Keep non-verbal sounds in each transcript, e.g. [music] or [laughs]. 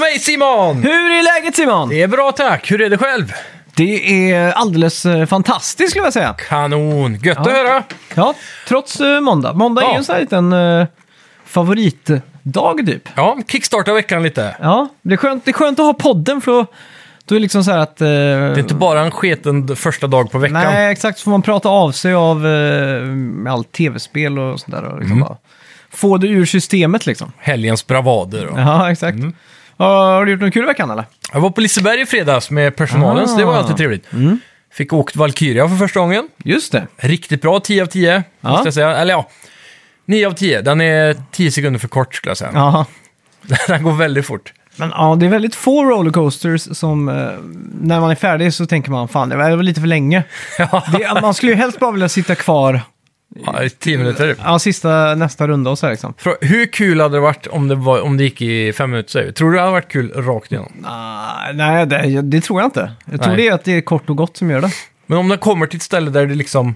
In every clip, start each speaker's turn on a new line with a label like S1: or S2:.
S1: mig Simon!
S2: Hur är läget Simon?
S1: Det är bra tack, hur är det själv?
S2: Det är alldeles eh, fantastiskt skulle jag säga.
S1: Kanon, gött att
S2: Ja.
S1: höra!
S2: Ja, trots eh, måndag. Måndag är
S1: Ja.
S2: ju en sån här liten eh, favoritdag typ.
S1: Ja, kickstarta veckan lite.
S2: Ja, det är skönt, det är skönt att ha podden för då, då är det liksom så här att... eh,
S1: Det är inte bara en sketen första dag på veckan.
S2: Nej, exakt. Så får man prata av sig av eh, med allt tv-spel och sånt där. Och liksom bara få det ur systemet liksom.
S1: Helgens bravader. Och.
S2: Ja, exakt. Ja, har du gjort något kul i veckan eller?
S1: Jag var på Liseberg i fredags med personalen, så det
S2: Ah.
S1: var alltid trevligt.
S2: Mm.
S1: Fick åkt Valkyria för första gången.
S2: Just det.
S1: Riktigt bra, 10 av 10.
S2: Ja.
S1: Måste jag säga. Eller ja, 9 av 10. Den är 10 sekunder för kort skulle jag säga.
S2: Ja.
S1: [laughs] Den går väldigt fort.
S2: Men ja, det är väldigt få rollercoasters som eh, när man är färdig så tänker man fan, det var det var lite för länge.
S1: [laughs] Ja.
S2: Det, man skulle ju helst bara vilja sitta kvar
S1: Ja, i 10 minuter.
S2: ja, sista, nästa runda och så här, liksom.
S1: Frå- Hur kul hade det varit om det, var, om det gick i fem minuter? säger vi? Tror du det hade varit kul rakt igenom?
S2: Ah, nej, det, det tror jag inte. Jag tror
S1: Nej.
S2: det är att det är kort och gott som gör det.
S1: Men om den kommer till ett ställe där det liksom...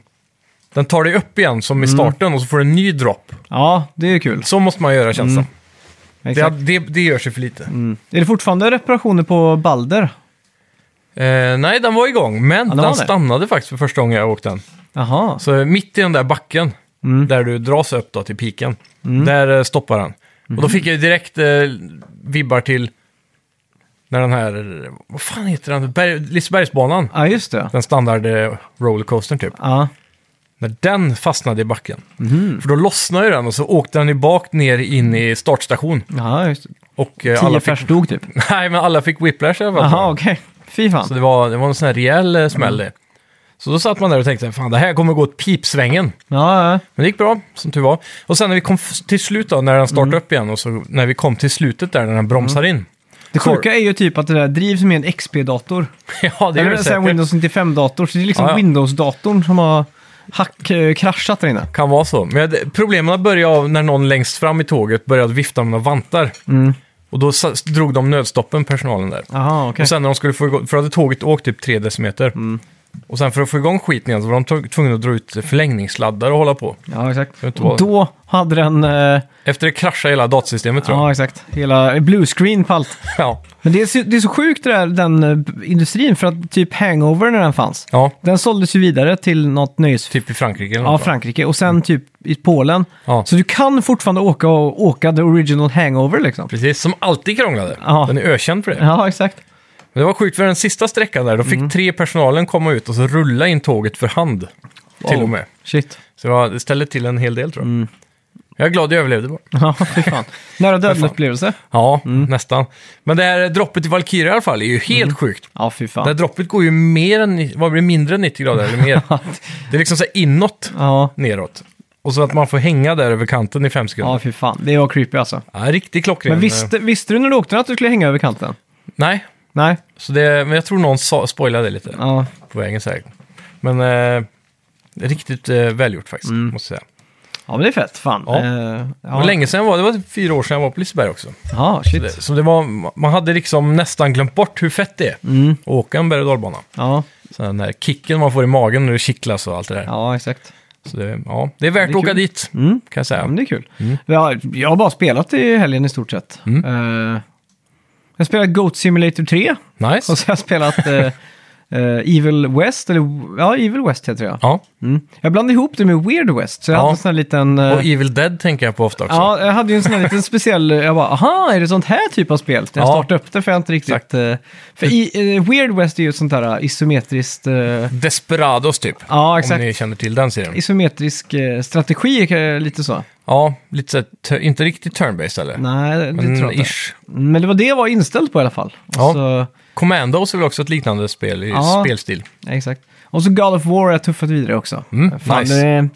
S1: Den tar dig upp igen
S2: Mm.
S1: som i starten och så får du en ny dropp.
S2: Ja, det är kul.
S1: Så måste man göra känns det som.
S2: Mm, Exakt.
S1: det, det, det gör sig för lite.
S2: Mm. Är det fortfarande reparationer på Balder?
S1: Eh, nej, den var igång, men
S2: den
S1: den,
S2: var det.
S1: stannade faktiskt för första gången jag åkte den.
S2: Jaha.
S1: Så mitt i den där backen,
S2: Mm.
S1: där du dras upp då till piken, där eh, stoppar den.
S2: Mm.
S1: Och då fick jag ju direkt eh, vibbar till när den här, vad fan heter den, Berg, Lisebergsbanan,
S2: Ja, just det.
S1: den standard eh, rollercoastern typ.
S2: Ja,
S1: När den fastnade i backen, för då lossnade ju den och så åkte den ju bak ner in i startstation.
S2: ja just det.
S1: Och
S2: Tio
S1: eh, alla fick, [laughs]
S2: pers dog typ.
S1: nej, men alla fick whiplash i alla fall.
S2: Jaha, okej. Fy fan.
S1: Så det var, det var en sån här rejäl eh, smäll. Så då satt man där och tänkte, fan det här kommer gå åt pipsvängen.
S2: Ja, ja.
S1: Men det gick bra, som tur var. Och sen när vi kom f- till slut då, när den startade
S2: Mm.
S1: upp igen och så när vi kom till slutet där när den bromsar in. [laughs]
S2: Det
S1: Kor-
S2: sjuka är ju typ att det där drivs med en XP-dator.
S1: ja, det
S2: Det
S1: är
S2: är
S1: det
S2: en
S1: säkert.
S2: Windows 95-dator, så det är liksom
S1: Ja, ja.
S2: Windows-datorn som har hack, eh, kraschat där inne.
S1: Kan vara så. Men det- problemen började av när någon längst fram i tåget började vifta med några vantar.
S2: Mm.
S1: Och då sa- drog de nödstoppen, personalen där.
S2: Jaha, okej. Mm.
S1: Och sen när de skulle få igång, för då hade tåget åkt typ tre decimeter. Och sen för att få igång skiten igen så var de tog- tvungna att dra ut förlängningssladdar och hålla på.
S2: Ja, exakt.
S1: Det inte
S2: Och
S1: vara-
S2: då hade den... Eh,
S1: Efter det kraschade hela datasystemet tror jag.
S2: ja, exakt. Hela bluescreen på allt.
S1: [laughs] Ja.
S2: Men det är, så- det är så sjukt det där, den eh, industrin, för att typ Hangover när den fanns,
S1: ja,
S2: den såldes ju vidare till något nöjes...
S1: typ i Frankrike eller
S2: Ja,
S1: något, va?
S2: Frankrike. Och sen typ i Polen.
S1: Ja.
S2: Så du kan fortfarande åka och åka the original hangover liksom.
S1: Precis, som alltid krånglade.
S2: Ja.
S1: Den är ökänd för det.
S2: Ja, Mm. exakt.
S1: Men det var sjukt, för den sista sträckan där, då fick tre personalen komma ut och så rulla in tåget för hand. Till
S2: Wow. Mm.
S1: och med.
S2: Shit.
S1: Så det var- det ställde till en hel del tror jag. Jag är glad jag överlevde bara.
S2: [laughs] Ja, fy fan. Nära döden upplevelse.
S1: Ja,
S2: Mm.
S1: nästan. Men det här droppet i Valkyria i alla fall är ju helt sjukt.
S2: Ja, fy
S1: Det här
S2: fan.
S1: droppet går ju mer än, vad blir det, mindre än 90 grader eller
S2: [laughs]
S1: mer. Det är liksom så här inåt,
S2: Ja.
S1: neråt. Och så att man får hänga där över kanten i fem sekunder.
S2: Ja, fy fan. Det var creepy alltså.
S1: Ja, riktigt klockren. Eh,
S2: Men visste, visste du när du åkte den att du skulle hänga över kanten?
S1: Nej,
S2: Nej?
S1: så det, men jag tror någon sa, spoilade det lite.
S2: Ja.
S1: på vägen säkert. Men eh, riktigt eh, välgjort faktiskt, måste jag säga.
S2: Ja, men det är fett. Fan.
S1: Ja.
S2: Eh,
S1: Det
S2: Mm. ja.
S1: var länge sedan jag var, det var typ fyra år sedan jag var på Liseberg också.
S2: Ja,
S1: Det,
S2: shit.
S1: så det var, man hade liksom nästan glömt bort hur fett det är
S2: Mm.
S1: att åka en berg och dalbana.
S2: Ja.
S1: Så den där kicken man får i magen när det kittlas och allt det där.
S2: ja, exakt.
S1: Så det, ja, det är värt
S2: Det är
S1: att åka
S2: kul.
S1: dit,
S2: Mm.
S1: kan jag
S2: Ja,
S1: säga.
S2: men det är kul.
S1: Mm.
S2: Ja, jag har bara spelat i helgen i stort sett. Eh, jag har spelat Goat Simulator 3 [laughs]
S1: Nice.
S2: och så har jag spelat eh, eh, Evil West, eller ja, Evil West heter jag.
S1: Ja.
S2: Mm. Jag blandade ihop det med Weird West, så jag
S1: Ja.
S2: hade en sån här liten... eh,
S1: Och Evil Dead tänker jag på ofta också.
S2: Ja, jag hade ju en sån här liten speciell, jag bara, aha, är det sånt här typ av spel? Jag
S1: Ja.
S2: startade upp det för jag inte riktigt... eh, För i, eh, Weird West är ju ett sånt här eh, isometriskt... eh,
S1: Desperados typ,
S2: Ja, exakt.
S1: om ni känner till den serien.
S2: Isometrisk eh, strategi, eh, lite så.
S1: Ja, lite så här, tu- inte riktigt turn-based eller?
S2: Nej, det
S1: Men
S2: tror jag inte.
S1: ish.
S2: Men det var det jag var inställd på i alla fall. Och
S1: Ja.
S2: Så,
S1: Commandos är väl också ett liknande spel i
S2: Ja.
S1: spelstil?
S2: ja, exakt. Och så God of War har jag tuffat vidare också.
S1: Mm, nice.
S2: det,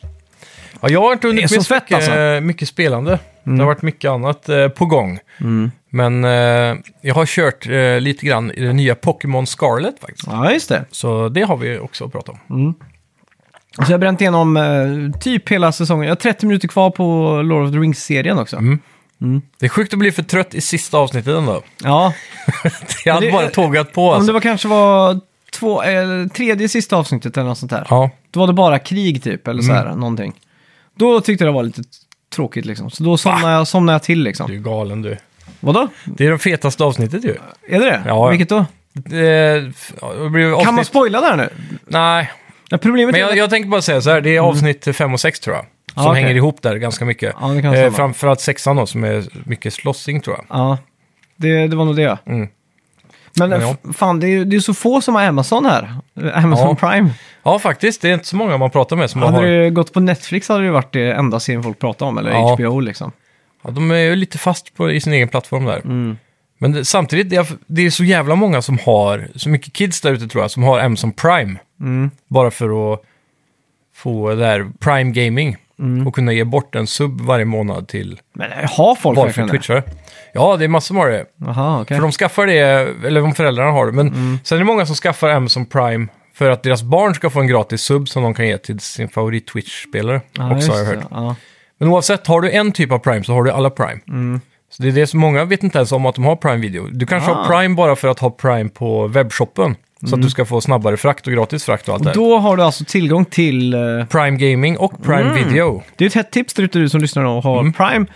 S1: Ja, jag har inte hunnit
S2: Det är
S1: med
S2: så
S1: så
S2: fett, alltså. Mm.
S1: mycket, eh, mycket spelande. Det har varit mycket annat eh, på gång. Men eh, jag har kört eh, lite grann i det nya Pokémon Scarlet faktiskt.
S2: ja, just det.
S1: Så det har vi också att prata om.
S2: Så jag har bränt igenom eh, typ hela säsongen. Jag har 30 minuter kvar på Lord of the Rings-serien också.
S1: Mm. Det är sjukt att bli för trött i sista avsnittet ändå. [laughs]
S2: Ja,
S1: Jag hade
S2: det-
S1: bara tågat på
S2: om
S1: alltså.
S2: det var kanske var två, eller tredje sista avsnittet eller något sånt där.
S1: Ja,
S2: Då var det bara krig typ, eller så här,
S1: Mm.
S2: någonting.
S1: Typ.
S2: Då tyckte jag det var lite tråkigt liksom. Så då somnade jag, somnade jag till liksom.
S1: du är galen du.
S2: Vadå?
S1: Det är det fetaste avsnittet ju.
S2: Är det det?
S1: Ja.
S2: Vilket då?
S1: Det, ja, det Eh, blir avsnitt...
S2: Kan man spoila där nu?
S1: Nej,
S2: Ja, problemet
S1: men
S2: är...
S1: jag,
S2: väl-
S1: jag tänker bara säga så här. Det är avsnitt 5 och 6 tror jag. Som
S2: Mm. Ja, okej.
S1: hänger ihop där ganska mycket.
S2: Ja, det kan
S1: eh,
S2: stämma.
S1: framförallt sexan då, som är mycket slossing tror jag.
S2: Ja, det, det var nog det ja.
S1: Mm.
S2: Men eh,
S1: Men ja.
S2: f- fan, det är ju det är så få som har Amazon här. Eh, Amazon
S1: Ja.
S2: Prime.
S1: Ja, faktiskt. Det är inte så många man pratar med som
S2: Hade
S1: har...
S2: det gått på Netflix hade det varit det enda serien folk pratade om, eller
S1: Ja.
S2: HBO liksom.
S1: Ja, de är ju lite fast på, i sin egen plattform där.
S2: Mm.
S1: Men det, samtidigt, det är, det är så jävla många som har, så mycket kids där ute tror jag, som har Amazon Prime.
S2: Mm.
S1: Bara för att få det här Prime Gaming.
S2: Mm.
S1: Och kunna ge bort en sub varje månad till
S2: Men eh, har folk
S1: bara för
S2: verkligen det?
S1: Twitchare. Ja, det är massor som har det.
S2: Jaha, okej.
S1: För de skaffar det, eller om föräldrarna har det. Men
S2: Mm.
S1: sen är det många som skaffar Amazon Prime för att deras barn ska få en gratis sub som de kan ge till sin favorit Twitch-spelare.
S2: Ja,
S1: också har jag
S2: just
S1: hört.
S2: det, Ja.
S1: Men oavsett, har du en typ av Prime så har du alla Prime.
S2: Mm.
S1: Så det är det som många vet inte ens om att de har Prime Video. Du kanske
S2: Ah. Mm.
S1: har Prime bara för att ha Prime på webbshoppen. Så att du ska få snabbare frakt och gratis frakt och allt det
S2: Och
S1: här.
S2: då har du alltså tillgång till... eh,
S1: Prime Gaming och Prime
S2: Mm.
S1: Video.
S2: Det är ett hett tips där ute du som lyssnar och har Prime.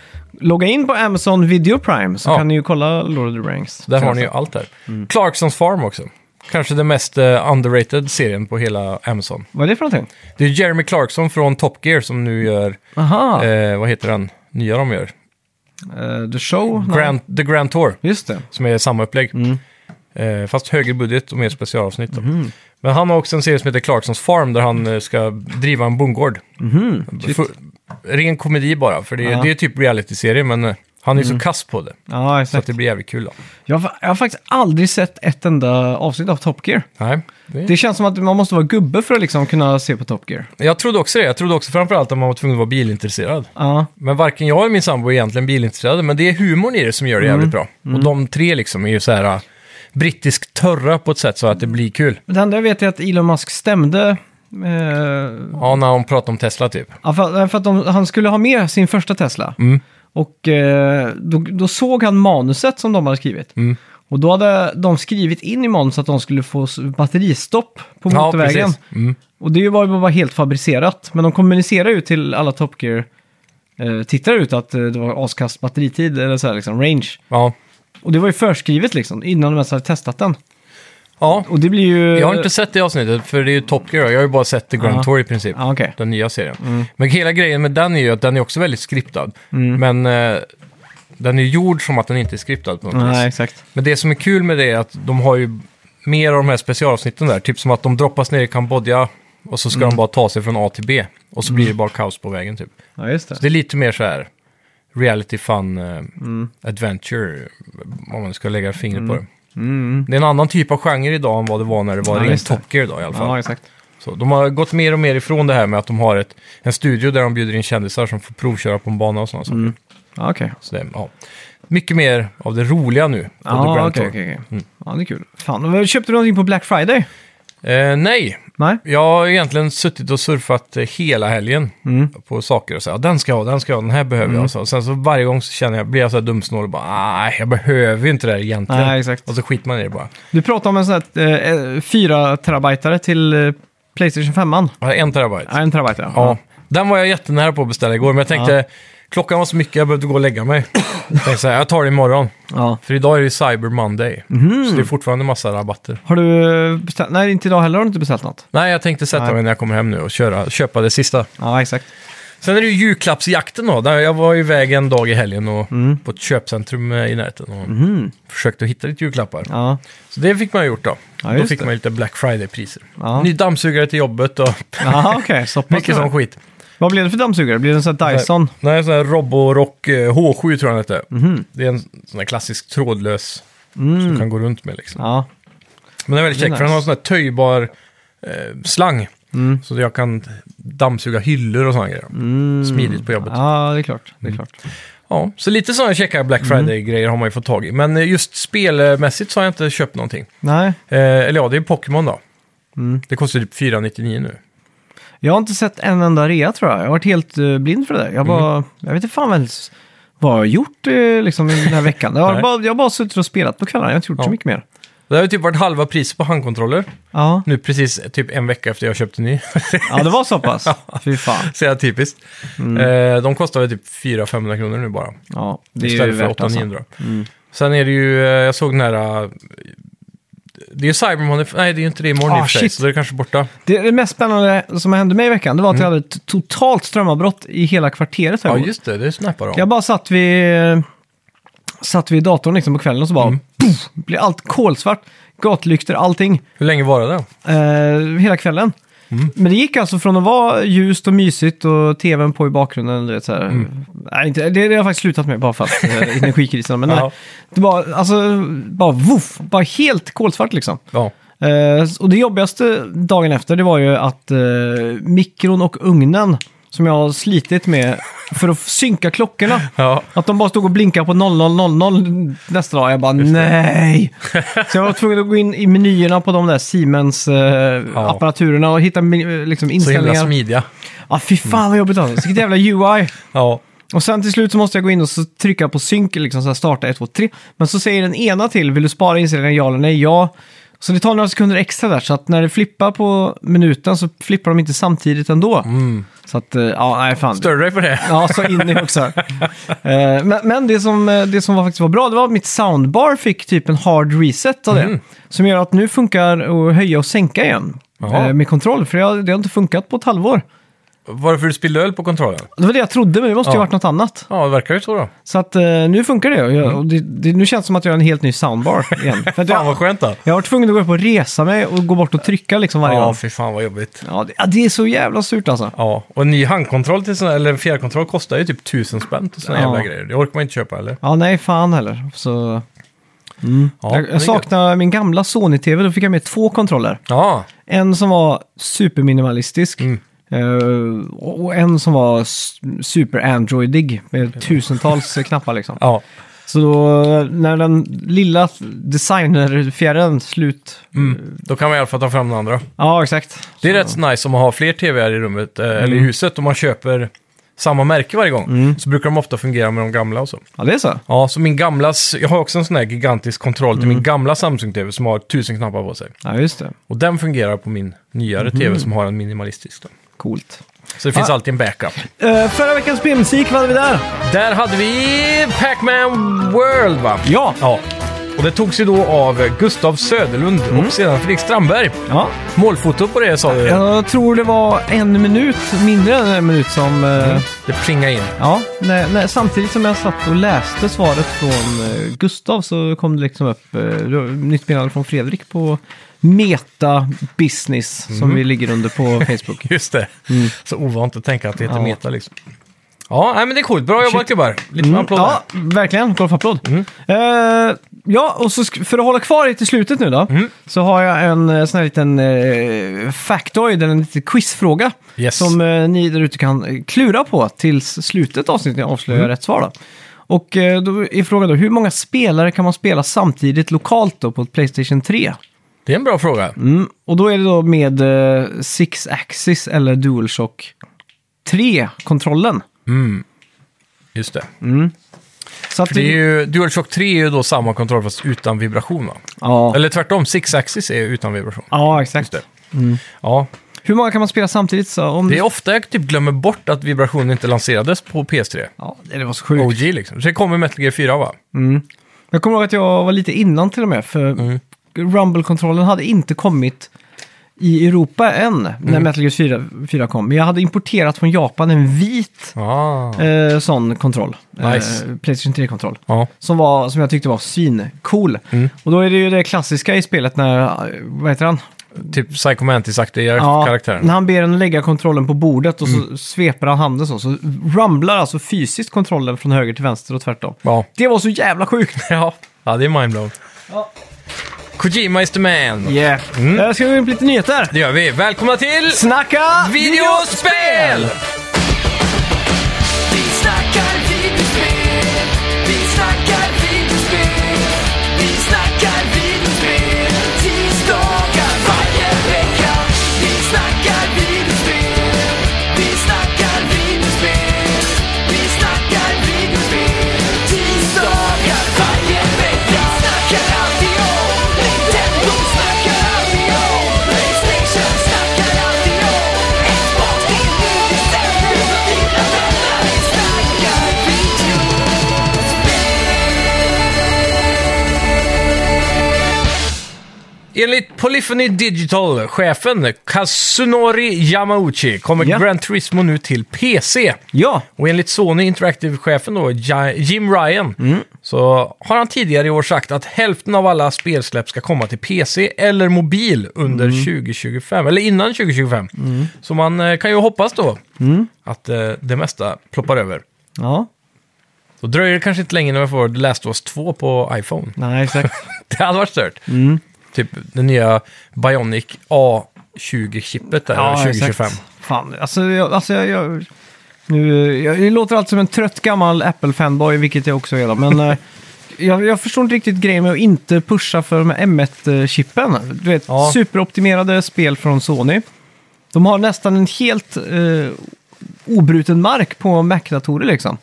S2: Logga in på Amazon Video Prime så
S1: Mm. Ja.
S2: kan ni ju kolla Lord of the Rings.
S1: Där har ni ju allt här.
S2: Mm.
S1: Clarksons Farm också. Kanske den mest eh, underrated serien på hela Amazon.
S2: Vad är det för någonting?
S1: Det är Jeremy Clarkson från Top Gear som nu gör,
S2: Aha,
S1: eh, vad heter den nya de gör?
S2: eh, The Show? Nej.
S1: Grand, The Grand Tour.
S2: Just det.
S1: som är samma upplägg.
S2: Mm.
S1: Eh, fast högre budget och mer specialavsnitt. Då.
S2: Mhm.
S1: Men han har också en serie som heter Clarksons Farm där han eh, ska driva en bondgård. För, ren komedi bara, för det,
S2: Mhm. Ja.
S1: det är typ reality-serie men eh, han är så kass på det.
S2: Ja,
S1: Så att
S2: exakt.
S1: det blir jävligt kul då.
S2: Jag, har fa- jag har faktiskt aldrig sett ett enda avsnitt av Top Gear.
S1: Nej, det...
S2: Det känns som att man måste vara gubbe för att liksom kunna se på Top Gear.
S1: Jag trodde också det. Jag trodde också framförallt att man var tvungen att vara bilintresserad.
S2: Ja,
S1: Men varken jag eller min sambo är egentligen bilintresserade, men det är humorn i det som gör det
S2: Mm.
S1: jävligt bra. Och de tre liksom är ju så här eh, brittisk törra på ett sätt så att det blir kul.
S2: det enda jag vet är att Elon Musk stämde... Eh,
S1: Ja, när hon pratar om Tesla typ.
S2: ja, för, för att de, han skulle ha med sin första Tesla.
S1: Mm.
S2: Och eh, då, då såg han manuset som de hade skrivit.
S1: Mm.
S2: Och då hade de skrivit in i manuset att de skulle få s- batteristopp på motorvägen.
S1: precis. Mm.
S2: och det var ju bara helt fabricerat. Men de kommunicerar ju till alla Top Gear eh, tittare ut att eh, det var askast batteritid eller så här liksom range.
S1: Ja.
S2: Och det var ju förskrivet liksom innan de ens hade testat den.
S1: ja,
S2: Och det blir ju...
S1: jag har inte sett det avsnittet för det är ju Top Gear. Jag har ju bara sett The Grand
S2: Ja.
S1: Tour i princip.
S2: Ja, Ah, Mm. okej.
S1: Den nya serien. Men hela grejen med den är ju att den är också väldigt skriptad.
S2: Mm.
S1: Men eh, den är gjord som att den inte är skriptad på något
S2: Nej,
S1: vis.
S2: exakt.
S1: Men det som är kul med det är att de har ju mer av de här specialavsnitten där. Typ som att de droppas ner i Kambodja och så ska
S2: Mm.
S1: de bara ta sig från A till B. Och så blir det bara kaos på vägen typ.
S2: Ja, just det.
S1: Så det är lite mer så här reality fun eh, adventure, om man ska lägga fingret på det.
S2: Mm.
S1: Det är en annan typ av genre idag än vad det var när det var
S2: Ja,
S1: ja, rent
S2: just det.
S1: Top Gear då, i alla fall.
S2: Ja, exakt.
S1: Så de har gått mer och mer ifrån det här med att de har ett, en studio där de bjuder in kändisar som får provköra på en bana och sådana saker.
S2: Mm. Ja, okej.
S1: Så det, ja. Mycket mer av det roliga nu. på The
S2: Ja,
S1: Grand
S2: okej,
S1: Tour. Mm.
S2: okej. okej. Ja, det är kul. Fan, men köpte du någonting på Black Friday?
S1: Eh, nej,
S2: Nej?
S1: jag har egentligen suttit och surfat eh, hela helgen
S2: Mm.
S1: på saker och så här, den ska jag ha, den ska jag ha, den här behöver jag. Så. Och sen så varje gång så känner jag, blir jag så här dumsnål och bara, nej, jag behöver ju inte det här egentligen.
S2: Nej, exakt.
S1: Och så skiter man i det bara.
S2: Du pratade om en sån här eh, 4 terabytare till eh, Playstation 5. Nej,
S1: Jag har En terabyte.
S2: en terabyte ja.
S1: Ja, den var jag jättenära på att beställa igår, men jag tänkte klockan var så mycket jag behövde gå och lägga
S2: [coughs]
S1: mig. Jag tänkte så här, jag tar det imorgon,
S2: ja.
S1: för idag är det Cyber Monday.
S2: Mhm.
S1: Så det är fortfarande massa rabatter.
S2: Har du eh, beställt? Nej, inte idag heller har du inte beställt något.
S1: Nej, jag tänkte sätta
S2: Nej.
S1: mig när jag kommer hem nu och köra, köpa det sista.
S2: Ja, exakt.
S1: Sen är det ju julklappsjakten då. Där jag var iväg en dag i helgen och
S2: Mm.
S1: på ett köpcentrum eh, i närheten och försökte hitta lite julklappar.
S2: Ja,
S1: Så det fick man gjort då.
S2: Ja,
S1: då
S2: just
S1: fick
S2: det.
S1: man lite Black Friday-priser.
S2: Ja.
S1: Ny dammsugare till
S2: [laughs]
S1: jobbet och
S2: ja okej. Så pass
S1: mycket
S2: det.
S1: sån skit.
S2: Vad blev det för dammsugare? Blev det en sån här Dyson?
S1: Nej, sån här Roborock eh, H7 tror jag den hette.
S2: Mhm.
S1: Det är en sån här klassisk trådlös som du kan gå runt med liksom.
S2: Mm. Ja.
S1: Men den är väldigt
S2: Det är
S1: käck för den har
S2: nice.
S1: en sån här töjbar eh, slang.
S2: Mm.
S1: Så jag kan dammsuga hyllor och såna grejer. Smidigt på jobbet. Mm. Ja.
S2: Mm. Ja, det är klart. Det är klart.
S1: så lite sådana käcka
S2: Mm.
S1: Black Friday-grejer har man ju fått tag i. Men eh, just spelmässigt så har jag inte köpt någonting.
S2: Nej,
S1: Eh, eller ja, det är Pokémon då.
S2: Mm.
S1: Det kostar typ 499 nu.
S2: jag har inte sett en enda rea tror jag. Jag har varit helt eh, blind för det
S1: Mhm.
S2: där. Jag, bara, jag vet inte fan väl s- vad jag har gjort eh, liksom, i den här veckan. Jag har,
S1: Nej.
S2: bara, jag har bara suttit och spelat på kvällarna. Jag har inte gjort så
S1: Ja.
S2: mycket mer.
S1: Det har ju typ varit halva priset på handkontroller.
S2: Ja.
S1: Nu precis typ en vecka efter jag köpte en ny. [laughs]
S2: ja, det var så pass. Fy fan.
S1: Så jag typiskt.
S2: Mm.
S1: Eh, de kostar väl typ 400-500 kronor nu bara.
S2: Ja, det är ju
S1: istället för
S2: värt alltså.
S1: 800-900. Sen är det ju, eh, jag såg den här... eh, Det är ju Cyber Monday, nej det är ju inte det imorgon
S2: Ah,
S1: i och för sig,
S2: shit.
S1: så det är kanske borta.
S2: Det, det mest spännande som hände mig i veckan, det var att jag hade ett totalt strömavbrott i hela kvarteret. här
S1: Mm. Ja
S2: igår.
S1: just det, det snappar de.
S2: Jag bara satt vid, satt vid datorn liksom på kvällen och så bara
S1: Mm.
S2: poff, blev allt kolsvart. Gatlyktor, allting.
S1: Hur länge var det då?
S2: Eh, hela kvällen. Men det gick alltså från att vara ljust och mysigt och tvn på i bakgrunden. Du vet, så här. Nej, inte, det, det har jag faktiskt slutat med bara för att eh, energikrisen. Men
S1: Ja.
S2: nej, det var alltså bara voff, bara helt kolsvart liksom.
S1: Ja.
S2: Eh, och det jobbigaste dagen efter det var ju att eh, mikron och ugnen som jag har slitit med för att synka klockorna.
S1: ja.
S2: Att de bara stod och blinkade på 0000 nästa dag. Jag bara
S1: [laughs]
S2: nej! Så jag var tvungen att gå in i menyerna på de där
S1: Ja.
S2: Siemens-apparaturerna och hitta mi- liksom,
S1: Så himla
S2: inställningar.
S1: smidiga.
S2: Ja, ah, fy fan vad jobbigt alltså. Vilket jävla UI.
S1: Ja.
S2: Och sen till slut så måste jag gå in och så trycka på synk, liksom så här starta 1, 2, 3. Men så säger den ena till, vill du spara inställningen ja eller nej? Ja. Så det tar några sekunder extra där, så att när det flippar på minuten så flippar de inte samtidigt ändå.
S1: Mm.
S2: Så att, eh, ja, nej fan.
S1: Stör du dig på det?
S2: Ja, så in i också. Eh, men men det, som, eh, det som var faktiskt var bra, det var att mitt soundbar fick typ en hard reset av det.
S1: Mm.
S2: Som gör att nu funkar att höja och sänka igen.
S1: Jaha.
S2: eh, Med kontroll, för jag, det har inte funkat på ett halvår.
S1: Varför du spillde öl på kontrollen?
S2: Det var det jag trodde, men det måste ju
S1: Ja.
S2: ha varit något annat.
S1: Ja, det verkar ju så då.
S2: Så att eh, nu funkar det. Och jag, och det, det. Nu känns det som att jag har en helt ny soundbar
S1: [laughs]
S2: igen. För att
S1: Mm. Fan
S2: jag,
S1: vad skönt då.
S2: jag har varit tvungen att gå upp och resa mig och gå bort och trycka liksom varje
S1: Ja,
S2: gång.
S1: fy fan vad jobbigt.
S2: Ja, det, ja, det är så jävla surt alltså.
S1: Ja, och en ny handkontroll till såna, eller en fjärrkontroll kostar ju typ tusen spänn till såna
S2: Ja.
S1: jävla grejer. Det orkar man inte köpa eller?
S2: Ja, nej fan heller. Så,
S1: Ja,
S2: jag
S1: det är
S2: jag saknar min gamla Sony-TV, då fick jag med två kontroller.
S1: gött. Ja,
S2: En som var superminimalistisk.
S1: Mm.
S2: eh, och och en som var s- super-androidig med
S1: [laughs]
S2: tusentals eh, knappar liksom.
S1: ja.
S2: Så då, eh, när den lilla designerfjärren slut...
S1: Mm. Då kan man i alla fall ta fram den andra.
S2: Ja, exakt.
S1: Det är
S2: Så-
S1: rätt nice om man har fler tvr i rummet, eh, eller i huset, om man köper samma märke varje gång. Så brukar de ofta fungera med de gamla och så.
S2: Ja, det är så.
S1: Ja, så min gamla, s- jag har också en sån här gigantisk kontroll till min gamla Samsung-TV som har tusen knappar på sig.
S2: Ja, just det.
S1: Och den fungerar på min nyare
S2: Mhm.
S1: TV som har en minimalistisk. Då.
S2: Coolt.
S1: Så det finns
S2: Ah.
S1: alltid en backup.
S2: Eh, förra veckans spelmusik, vad hade vi där?
S1: Där hade vi Pac-Man World va?
S2: Ja.
S1: ja. Och det togs ju då av Gustav Söderlund
S2: Mm.
S1: och sedan Fredrik Strandberg.
S2: ja.
S1: Målfoto på det sa du.
S2: Jag tror det var en minut, mindre än en minut som... eh,
S1: Det plingade in. [laughs]
S2: Ja, när, när, samtidigt som jag satt och läste svaret från eh, Gustav så kom det liksom upp eh, det var ett nytt meddelande från Fredrik på Meta Business som vi ligger under på Facebook.
S1: Just det. Så ovant att tänka att det heter
S2: Mm. Ja.
S1: meta liksom. Ja, nej, men det är coolt. Bra jobbat
S2: Shit.
S1: gubbar. Lite
S2: Mm,
S1: applåder.
S2: ja, verkligen. Golfapplåd. Eh, ja, och så sk- för att hålla kvar det till slutet nu då, så har jag en eh, sån här liten eh, factoid, eller en liten quizfråga,
S1: Yes.
S2: som eh, ni där ute kan eh, klura på tills slutet av avsnittet när jag
S1: Mm.
S2: avslöjar rätt svar. Då. Och eh, då är frågan då, hur många spelare kan man spela samtidigt lokalt då på ett Playstation 3?
S1: Det är en bra fråga.
S2: Mm. Och då är det då med eh, Six Axis eller DualShock 3-kontrollen.
S1: Just det.
S2: Så att
S1: För det är ju, DualShock 3 är ju då samma kontroll fast utan vibration va?
S2: Ja.
S1: Eller tvärtom, Six Axis är utan vibration.
S2: ja, exakt.
S1: Just Ja,
S2: Hur många kan man spela samtidigt? Så om...
S1: det är ofta jag typ glömmer bort att vibrationen inte lanserades på PS3.
S2: Ja, det var så sjukt.
S1: OG liksom. Så det kommer Metal Gear 4 va?
S2: Jag kommer ihåg att jag var lite innan till och med, för
S1: Mm.
S2: Rumble-kontrollen hade inte kommit i Europa än när
S1: Mm.
S2: Metal Gear 4, 4 kom. Men jag hade importerat från Japan en vit
S1: Ah.
S2: eh, sån kontroll.
S1: Nice.
S2: Eh, Playstation 3-kontroll.
S1: Ja.
S2: Som, var, som jag tyckte var svincool.
S1: Mm.
S2: Och då är det ju det klassiska i spelet när, eh, vad heter han?
S1: Typ Psycho Mantis-aktiga karaktären. Mm.
S2: när han ber en lägga kontrollen på bordet och så sveper han handen så. Så rumblar alltså fysiskt kontrollen från höger till vänster och tvärtom.
S1: Ja. [laughs]
S2: Det var så jävla sjukt!
S1: ja. ja, det är mindblown.
S2: Ja.
S1: Kojima is the man.
S2: Yeah. Eh, Ska vi gå in på lite nyheter?
S1: Det gör vi. Välkomna till
S2: Snacka
S1: videospel!
S3: Vi snackar videospel, vi snackar videospel, vi snackar videospel, tisdagar varje vecka. Vi snackar videospel, vi snackar videospel, vi snackar videospel, tisdagar varje vecka. Vi snackar alltid om Nintendo
S1: Enligt Polyphony Digital-chefen Kazunori Yamauchi kommer
S2: Ja.
S1: Gran Turismo nu till PC.
S2: Ja,
S1: Och enligt Sony Interactive-chefen då, Ja- Jim Ryan,
S2: Mm.
S1: så har han tidigare i år sagt att hälften av alla spelsläpp ska komma till PC eller mobil under
S2: Mm.
S1: 2025, eller innan 2025. Så man eh, kan ju hoppas då
S2: Mm.
S1: att eh, det mesta ploppar över.
S2: ja.
S1: Då dröjer det kanske inte länge innan vi får The Last of Us 2 på iPhone. [laughs]
S2: Nej, exakt.
S1: Det hade varit stört.
S2: Mm.
S1: Typ det nya Bionic A20-chippet där,
S2: Ja,
S1: 2025.
S2: exakt. Fan, alltså, jag, alltså jag, jag, nu, jag, jag låter alltid som en trött gammal Apple-fanboy, vilket jag också är. då, Men [laughs] eh, jag, jag förstår inte riktigt grejen med att inte pusha för de här M1-chippen. Du vet,
S1: Ja.
S2: superoptimerade spel från Sony. De har nästan en helt eh, obruten mark på Mac-datorer liksom.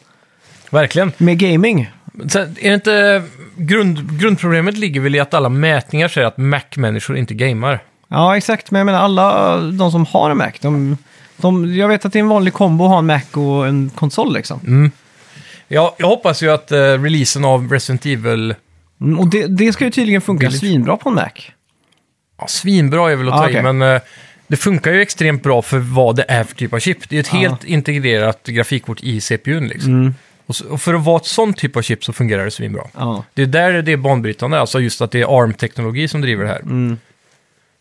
S1: Verkligen.
S2: Med gaming.
S1: Sen, är det inte, grund, grundproblemet ligger väl i att alla mätningar säger att Mac-människor inte gamar.
S2: Ja, exakt. Men jag menar alla de som har en Mac, de, de, jag vet att det är en vanlig kombo att ha en Mac och en konsol liksom.
S1: Mm. Jag, jag hoppas ju att eh, releasen av Resident Evil...
S2: Mm, och det, det ska ju tydligen funka
S1: Billigt.
S2: svinbra på en Mac.
S1: Ja, svinbra är väl att
S2: Ah,
S1: ta i,
S2: okej.
S1: men eh, det funkar ju extremt bra för vad det är för typ av chip. Det är ett
S2: Ah. Mm.
S1: helt integrerat grafikkort i CPUn liksom. Och, så, och för att vara ett sånt typ av chip så fungerar det svinbra.
S2: Ja.
S1: Det är där det är banbrytande, alltså just att det är ARM-teknologi som driver det här.
S2: Mm.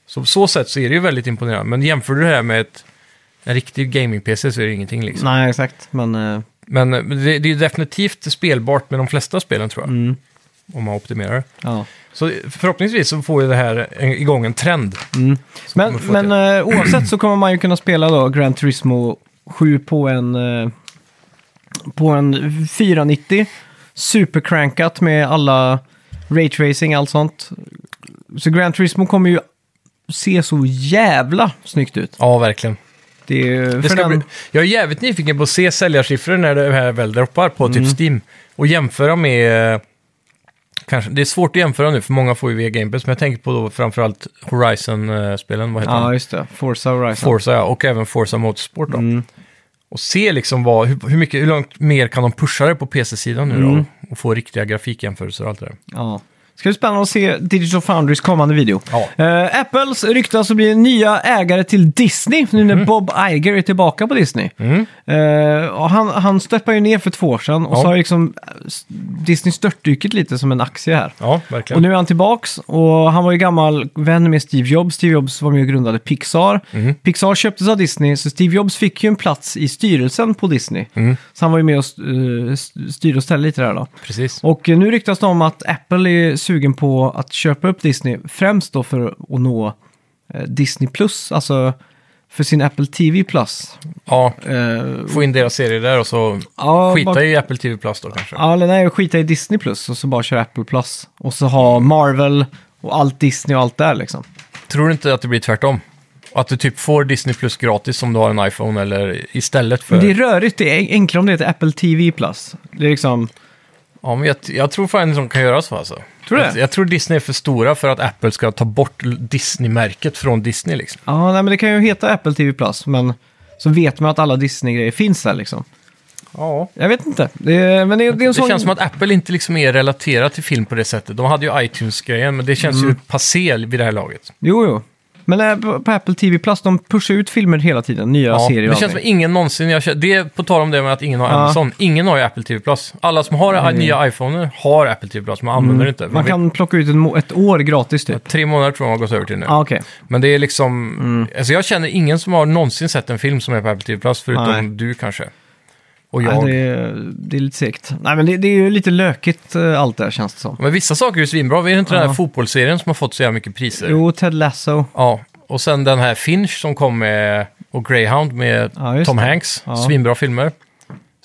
S1: Så på så sätt så är det ju väldigt imponerande, men jämför du det här med ett, en riktig gaming-PC så är det ingenting liksom.
S2: Nej, exakt. Men eh,
S1: Men eh, det, det är definitivt spelbart med de flesta spelen tror jag.
S2: Mm.
S1: Om man optimerar det.
S2: ja.
S1: Så förhoppningsvis så får ju det här en- igång en trend. som
S2: Mm. Men,
S1: kommer få
S2: men
S1: till-
S2: eh, oavsett så kommer man ju kunna spela då Gran Turismo 7 på en, eh, på en 490. Supercrankat med alla rate racing allt sånt. Så Gran Turismo kommer ju se så jävla snyggt ut.
S1: Ja, verkligen.
S2: Det är ju
S1: Det
S2: för
S1: ska
S2: den...
S1: bli... Jag är jävligt nyfiken på att se säljarsiffror när det här väl droppar på
S2: Mm.
S1: typ Steam. Och jämföra med... eh, Kanske, det är svårt att jämföra nu, för många får ju via Game Pass, men jag tänker på då framförallt Horizon-spelen, vad heter
S2: Ja,
S1: de?
S2: just det. Mm. Forza Horizon.
S1: Forza, ja, och även Forza Motorsport då. Och se liksom vad, hur, hur, mycket, hur långt mer kan de pusha det på PC-sidan nu
S2: Mm.
S1: då? Och få riktiga grafikjämförelser och allt det där.
S2: Ja. Ska bli spännande att se Digital Foundries kommande video.
S1: Ja.
S2: Eh, Apples ryktas att bli nya ägare till Disney nu
S1: Mhm.
S2: när Bob Iger är tillbaka på Disney.
S1: Mm.
S2: Eh, och han, han steppade ju ner för två år sedan och
S1: Ja.
S2: så har ju liksom eh, s- Disney störtdyket lite som en aktie här.
S1: Ja, verkligen.
S2: Och nu är han tillbaks och han var ju gammal vän med Steve Jobs. Steve Jobs var med och grundade Pixar.
S1: Mhm.
S2: Pixar köptes av Disney, så Steve Jobs fick ju en plats i styrelsen på Disney.
S1: Mhm.
S2: Så han var ju med och uh, styrde och ställde lite där då.
S1: Precis.
S2: Och nu ryktas det om att Apple är sugen på att köpa upp Disney, främst då för att nå eh, Disney Plus, alltså för sin Apple TV Plus.
S1: Ja,
S2: Eh,
S1: få in deras serier där och så
S2: ja,
S1: skita
S2: bara-
S1: i Apple TV Plus då kanske.
S2: Ja, eller nej, skita i Disney Plus och så bara köra Apple Plus. Och så ha Marvel och allt Disney och allt där liksom.
S1: Tror du inte att det blir tvärtom? Att du typ får Disney Plus gratis om du har en iPhone eller istället för...
S2: Men det är rörigt, det är enklare om det heter Apple TV Plus. Det är liksom,
S1: Ja, men jag, jag tror fan de kan göra så alltså.
S2: Tror du
S1: jag,
S2: det?
S1: jag tror Disney är för stora för att Apple ska ta bort Disney-märket från Disney liksom.
S2: ja, nej men det kan ju heta Apple TV Plus, men så vet man att alla Disney-grejer finns där liksom.
S1: Ja.
S2: Jag vet inte, det är, men det, är- det är en
S1: Det
S2: sån...
S1: känns som att Apple inte liksom är relaterat till film på det sättet. De hade ju iTunes-grejen, men det känns ju
S2: Mm.
S1: passé vid det här laget.
S2: Jo, jo. Men eh, på- på Apple TV Plus, de pushar ut filmer hela tiden, nya serier och
S1: det känns som
S2: allting.
S1: ingen någonsin, jag, känner- det, på tal om det med att ingen har
S2: Ja. Mm.
S1: Amazon, ingen har ju Apple TV Plus. Alla som har nya iPhoner har Apple TV Plus, man använder det inte.
S2: Man kan plocka ut en må- ett år gratis typ.
S1: Tre månader tror jag man har gått över till nu.
S2: Ja, Mm. ah, okej.
S1: Men det är liksom, alltså jag känner ingen som har någonsin sett en film som är på Apple TV Plus, förutom
S2: Nej.
S1: du kanske. Och jag.
S2: Nej, Det, är- det är lite segt. Nej, men det, det är ju lite lökigt eh, allt det här känns det som.
S1: Men vissa saker är ju svinbra, vi är det inte den här
S2: Ja.
S1: fotbollsserien som har fått så jävla mycket priser.
S2: Jo, Ted Lasso.
S1: Ja, och sen den här Finch som kom med, och Greyhound med
S2: Ja, just
S1: Tom
S2: det.
S1: Hanks.
S2: Ja. Mm.
S1: Svinbra filmer.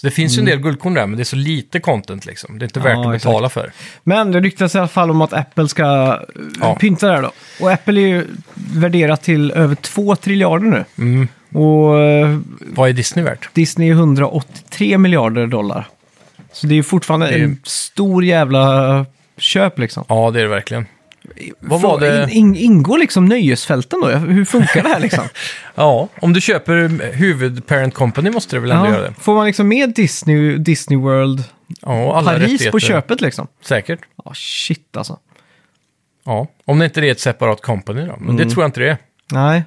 S1: Så det finns ju en del guldkorn där, men det är så lite content liksom. Det är inte värt
S2: Ja,
S1: att
S2: exakt.
S1: betala för.
S2: Men det ryktas i alla fall om att Apple ska eh,
S1: Ja.
S2: pynta där då. Och Apple är ju värderat till över 2 triljarder nu.
S1: Mm.
S2: Och eh,
S1: Vad är Disney värt?
S2: Disney är 183 miljarder dollar. Så det är ju fortfarande
S1: Det är ju-
S2: en stor jävla köp liksom.
S1: Ja, det är det verkligen. Vad var
S2: Fråga-
S1: det?
S2: In, in, ingår liksom nöjesfälten då? Hur funkar det här
S1: [laughs]
S2: liksom?
S1: Ja, om du köper huvud-parent company måste du väl ändå
S2: Ja.
S1: göra det?
S2: Får man liksom med Disney, Disney World,
S1: Ja, alla
S2: Paris
S1: rättigheter.
S2: på köpet liksom?
S1: Säkert.
S2: Ja, shit alltså.
S1: Ja, om det inte är ett separat company då. Men
S2: Mm.
S1: det tror jag inte det är.
S2: Nej.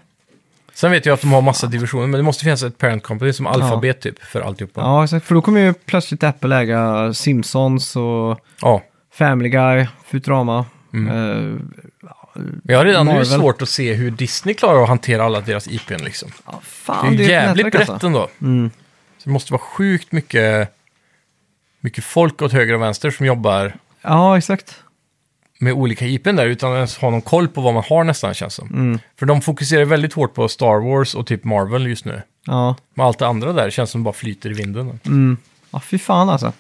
S1: Sen vet jag att de har massa divisioner, men det måste finnas ett parent company som Alphabet typ för alltihopa. Ja.
S2: Ja, exakt. För då kommer ju plötsligt Apple äga Simpsons och
S1: ja.
S2: Family Guy, Futurama.
S1: Mm.
S2: Eh,
S1: Men jag har redan nu
S2: Marvel.
S1: svårt att se hur Disney klarar att hantera alla deras IPn liksom.
S2: ja,
S1: Det är
S2: fan,
S1: ju
S2: ett
S1: jävligt
S2: nätverk,
S1: brett
S2: alltså.
S1: ändå. Så det måste vara sjukt mycket, mycket folk åt höger och vänster som jobbar
S2: Ja, exakt.
S1: med olika IPn där utan att ens ha någon koll på vad man har nästan känns som.
S2: Mm.
S1: För de fokuserar väldigt hårt på Star Wars och typ Marvel just nu.
S2: Ja.
S1: Men allt det andra där känns som bara flyter i vinden.
S2: Mm. Ja, fy fan alltså.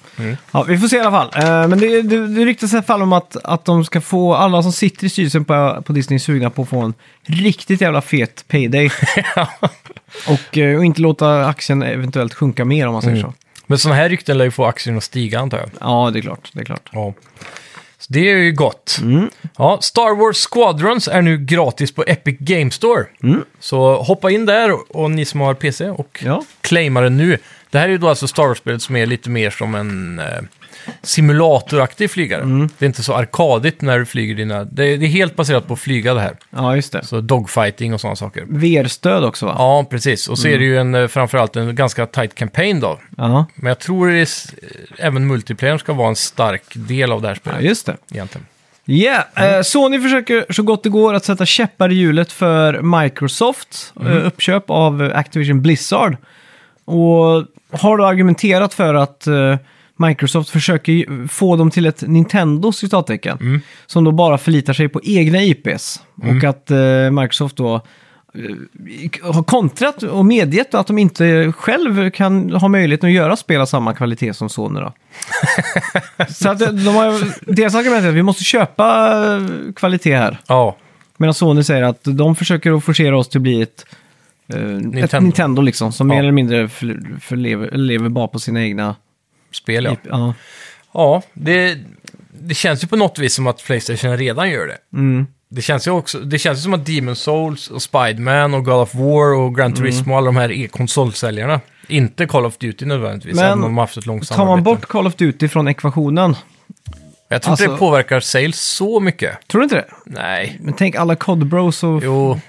S2: Ja, vi får se i alla fall. Eh, men det, det, det ryktas i alla fall om att, att de ska få, alla som sitter i styrelsen på, på Disney är sugna på att få en riktigt jävla fet payday. och, eh, och inte låta aktien eventuellt sjunka mer om man säger så.
S1: Men sådana här rykten lär ju få aktien att stiga antar jag.
S2: Ja, det är klart. Det är klart.
S1: Ja. Så det är ju gott.
S2: Mm.
S1: Ja, Star Wars Squadrons är nu gratis på Epic Game Store.
S2: Mm.
S1: Så hoppa in där och- och ni som har PC och
S2: Ja.
S1: claima det nu. Det här är ju då alltså Star Wars-spelet som är lite mer som en eh, simulatoraktig flygare.
S2: Mm.
S1: Det är inte så arkadigt när du flyger dina... Det är, det är helt baserat på att flyga det här.
S2: Ja, just det.
S1: Så dogfighting och sådana saker.
S2: VR-stöd också va?
S1: Ja, precis. Och så är det ju en,
S2: Mm.
S1: eh, framförallt en ganska tight campaign då.
S2: Ja.
S1: Men jag tror det är, s- eh, även multiplayer ska vara en stark del av det här spelet.
S2: Ja, just det.
S1: egentligen.
S2: Yeah, eh, Sony försöker så gott det går att sätta käppar i hjulet för Microsoft eh, uppköp av eh, Activision Blizzard. Och har då argumenterat för att eh, Microsoft försöker ju få dem till ett Nintendo citattecken. Som då bara förlitar sig på egna IPs. Och att eh, Microsoft då eh, har kontrat och medgett att de inte själv kan ha möjligheten att göra spel av samma kvalitet som Sony. Då. Så att eh, de har, deras argument är att vi måste köpa eh, kvalitet här.
S1: Ja,
S2: Medan Sony säger att de försöker att forcera oss till att bli ett, eh, ett
S1: Nintendo.
S2: Nintendo liksom, som
S1: Ja.
S2: mer eller mindre för, för lever, lever bara på sina egna...
S1: spel ja.
S2: IP. Ja.
S1: Ja, det, det känns ju på något vis som att Playstation redan gör det.
S2: Mm.
S1: Det känns ju också, det känns ju som att Demon Souls och Spiderman och God of War och
S2: Mm.
S1: Gran Turismo och alla de här är konsolsäljarna. Inte Call of Duty nödvändigtvis,
S2: Men
S1: även om de har haft ett långt
S2: Tar man
S1: samarbete.
S2: bort Call of Duty från ekvationen,
S1: Jag tror inte det
S2: Alltså-
S1: påverkar sales så mycket.
S2: tror du inte det?
S1: Nej,
S2: Men tänk alla Cod Bros och
S1: jo.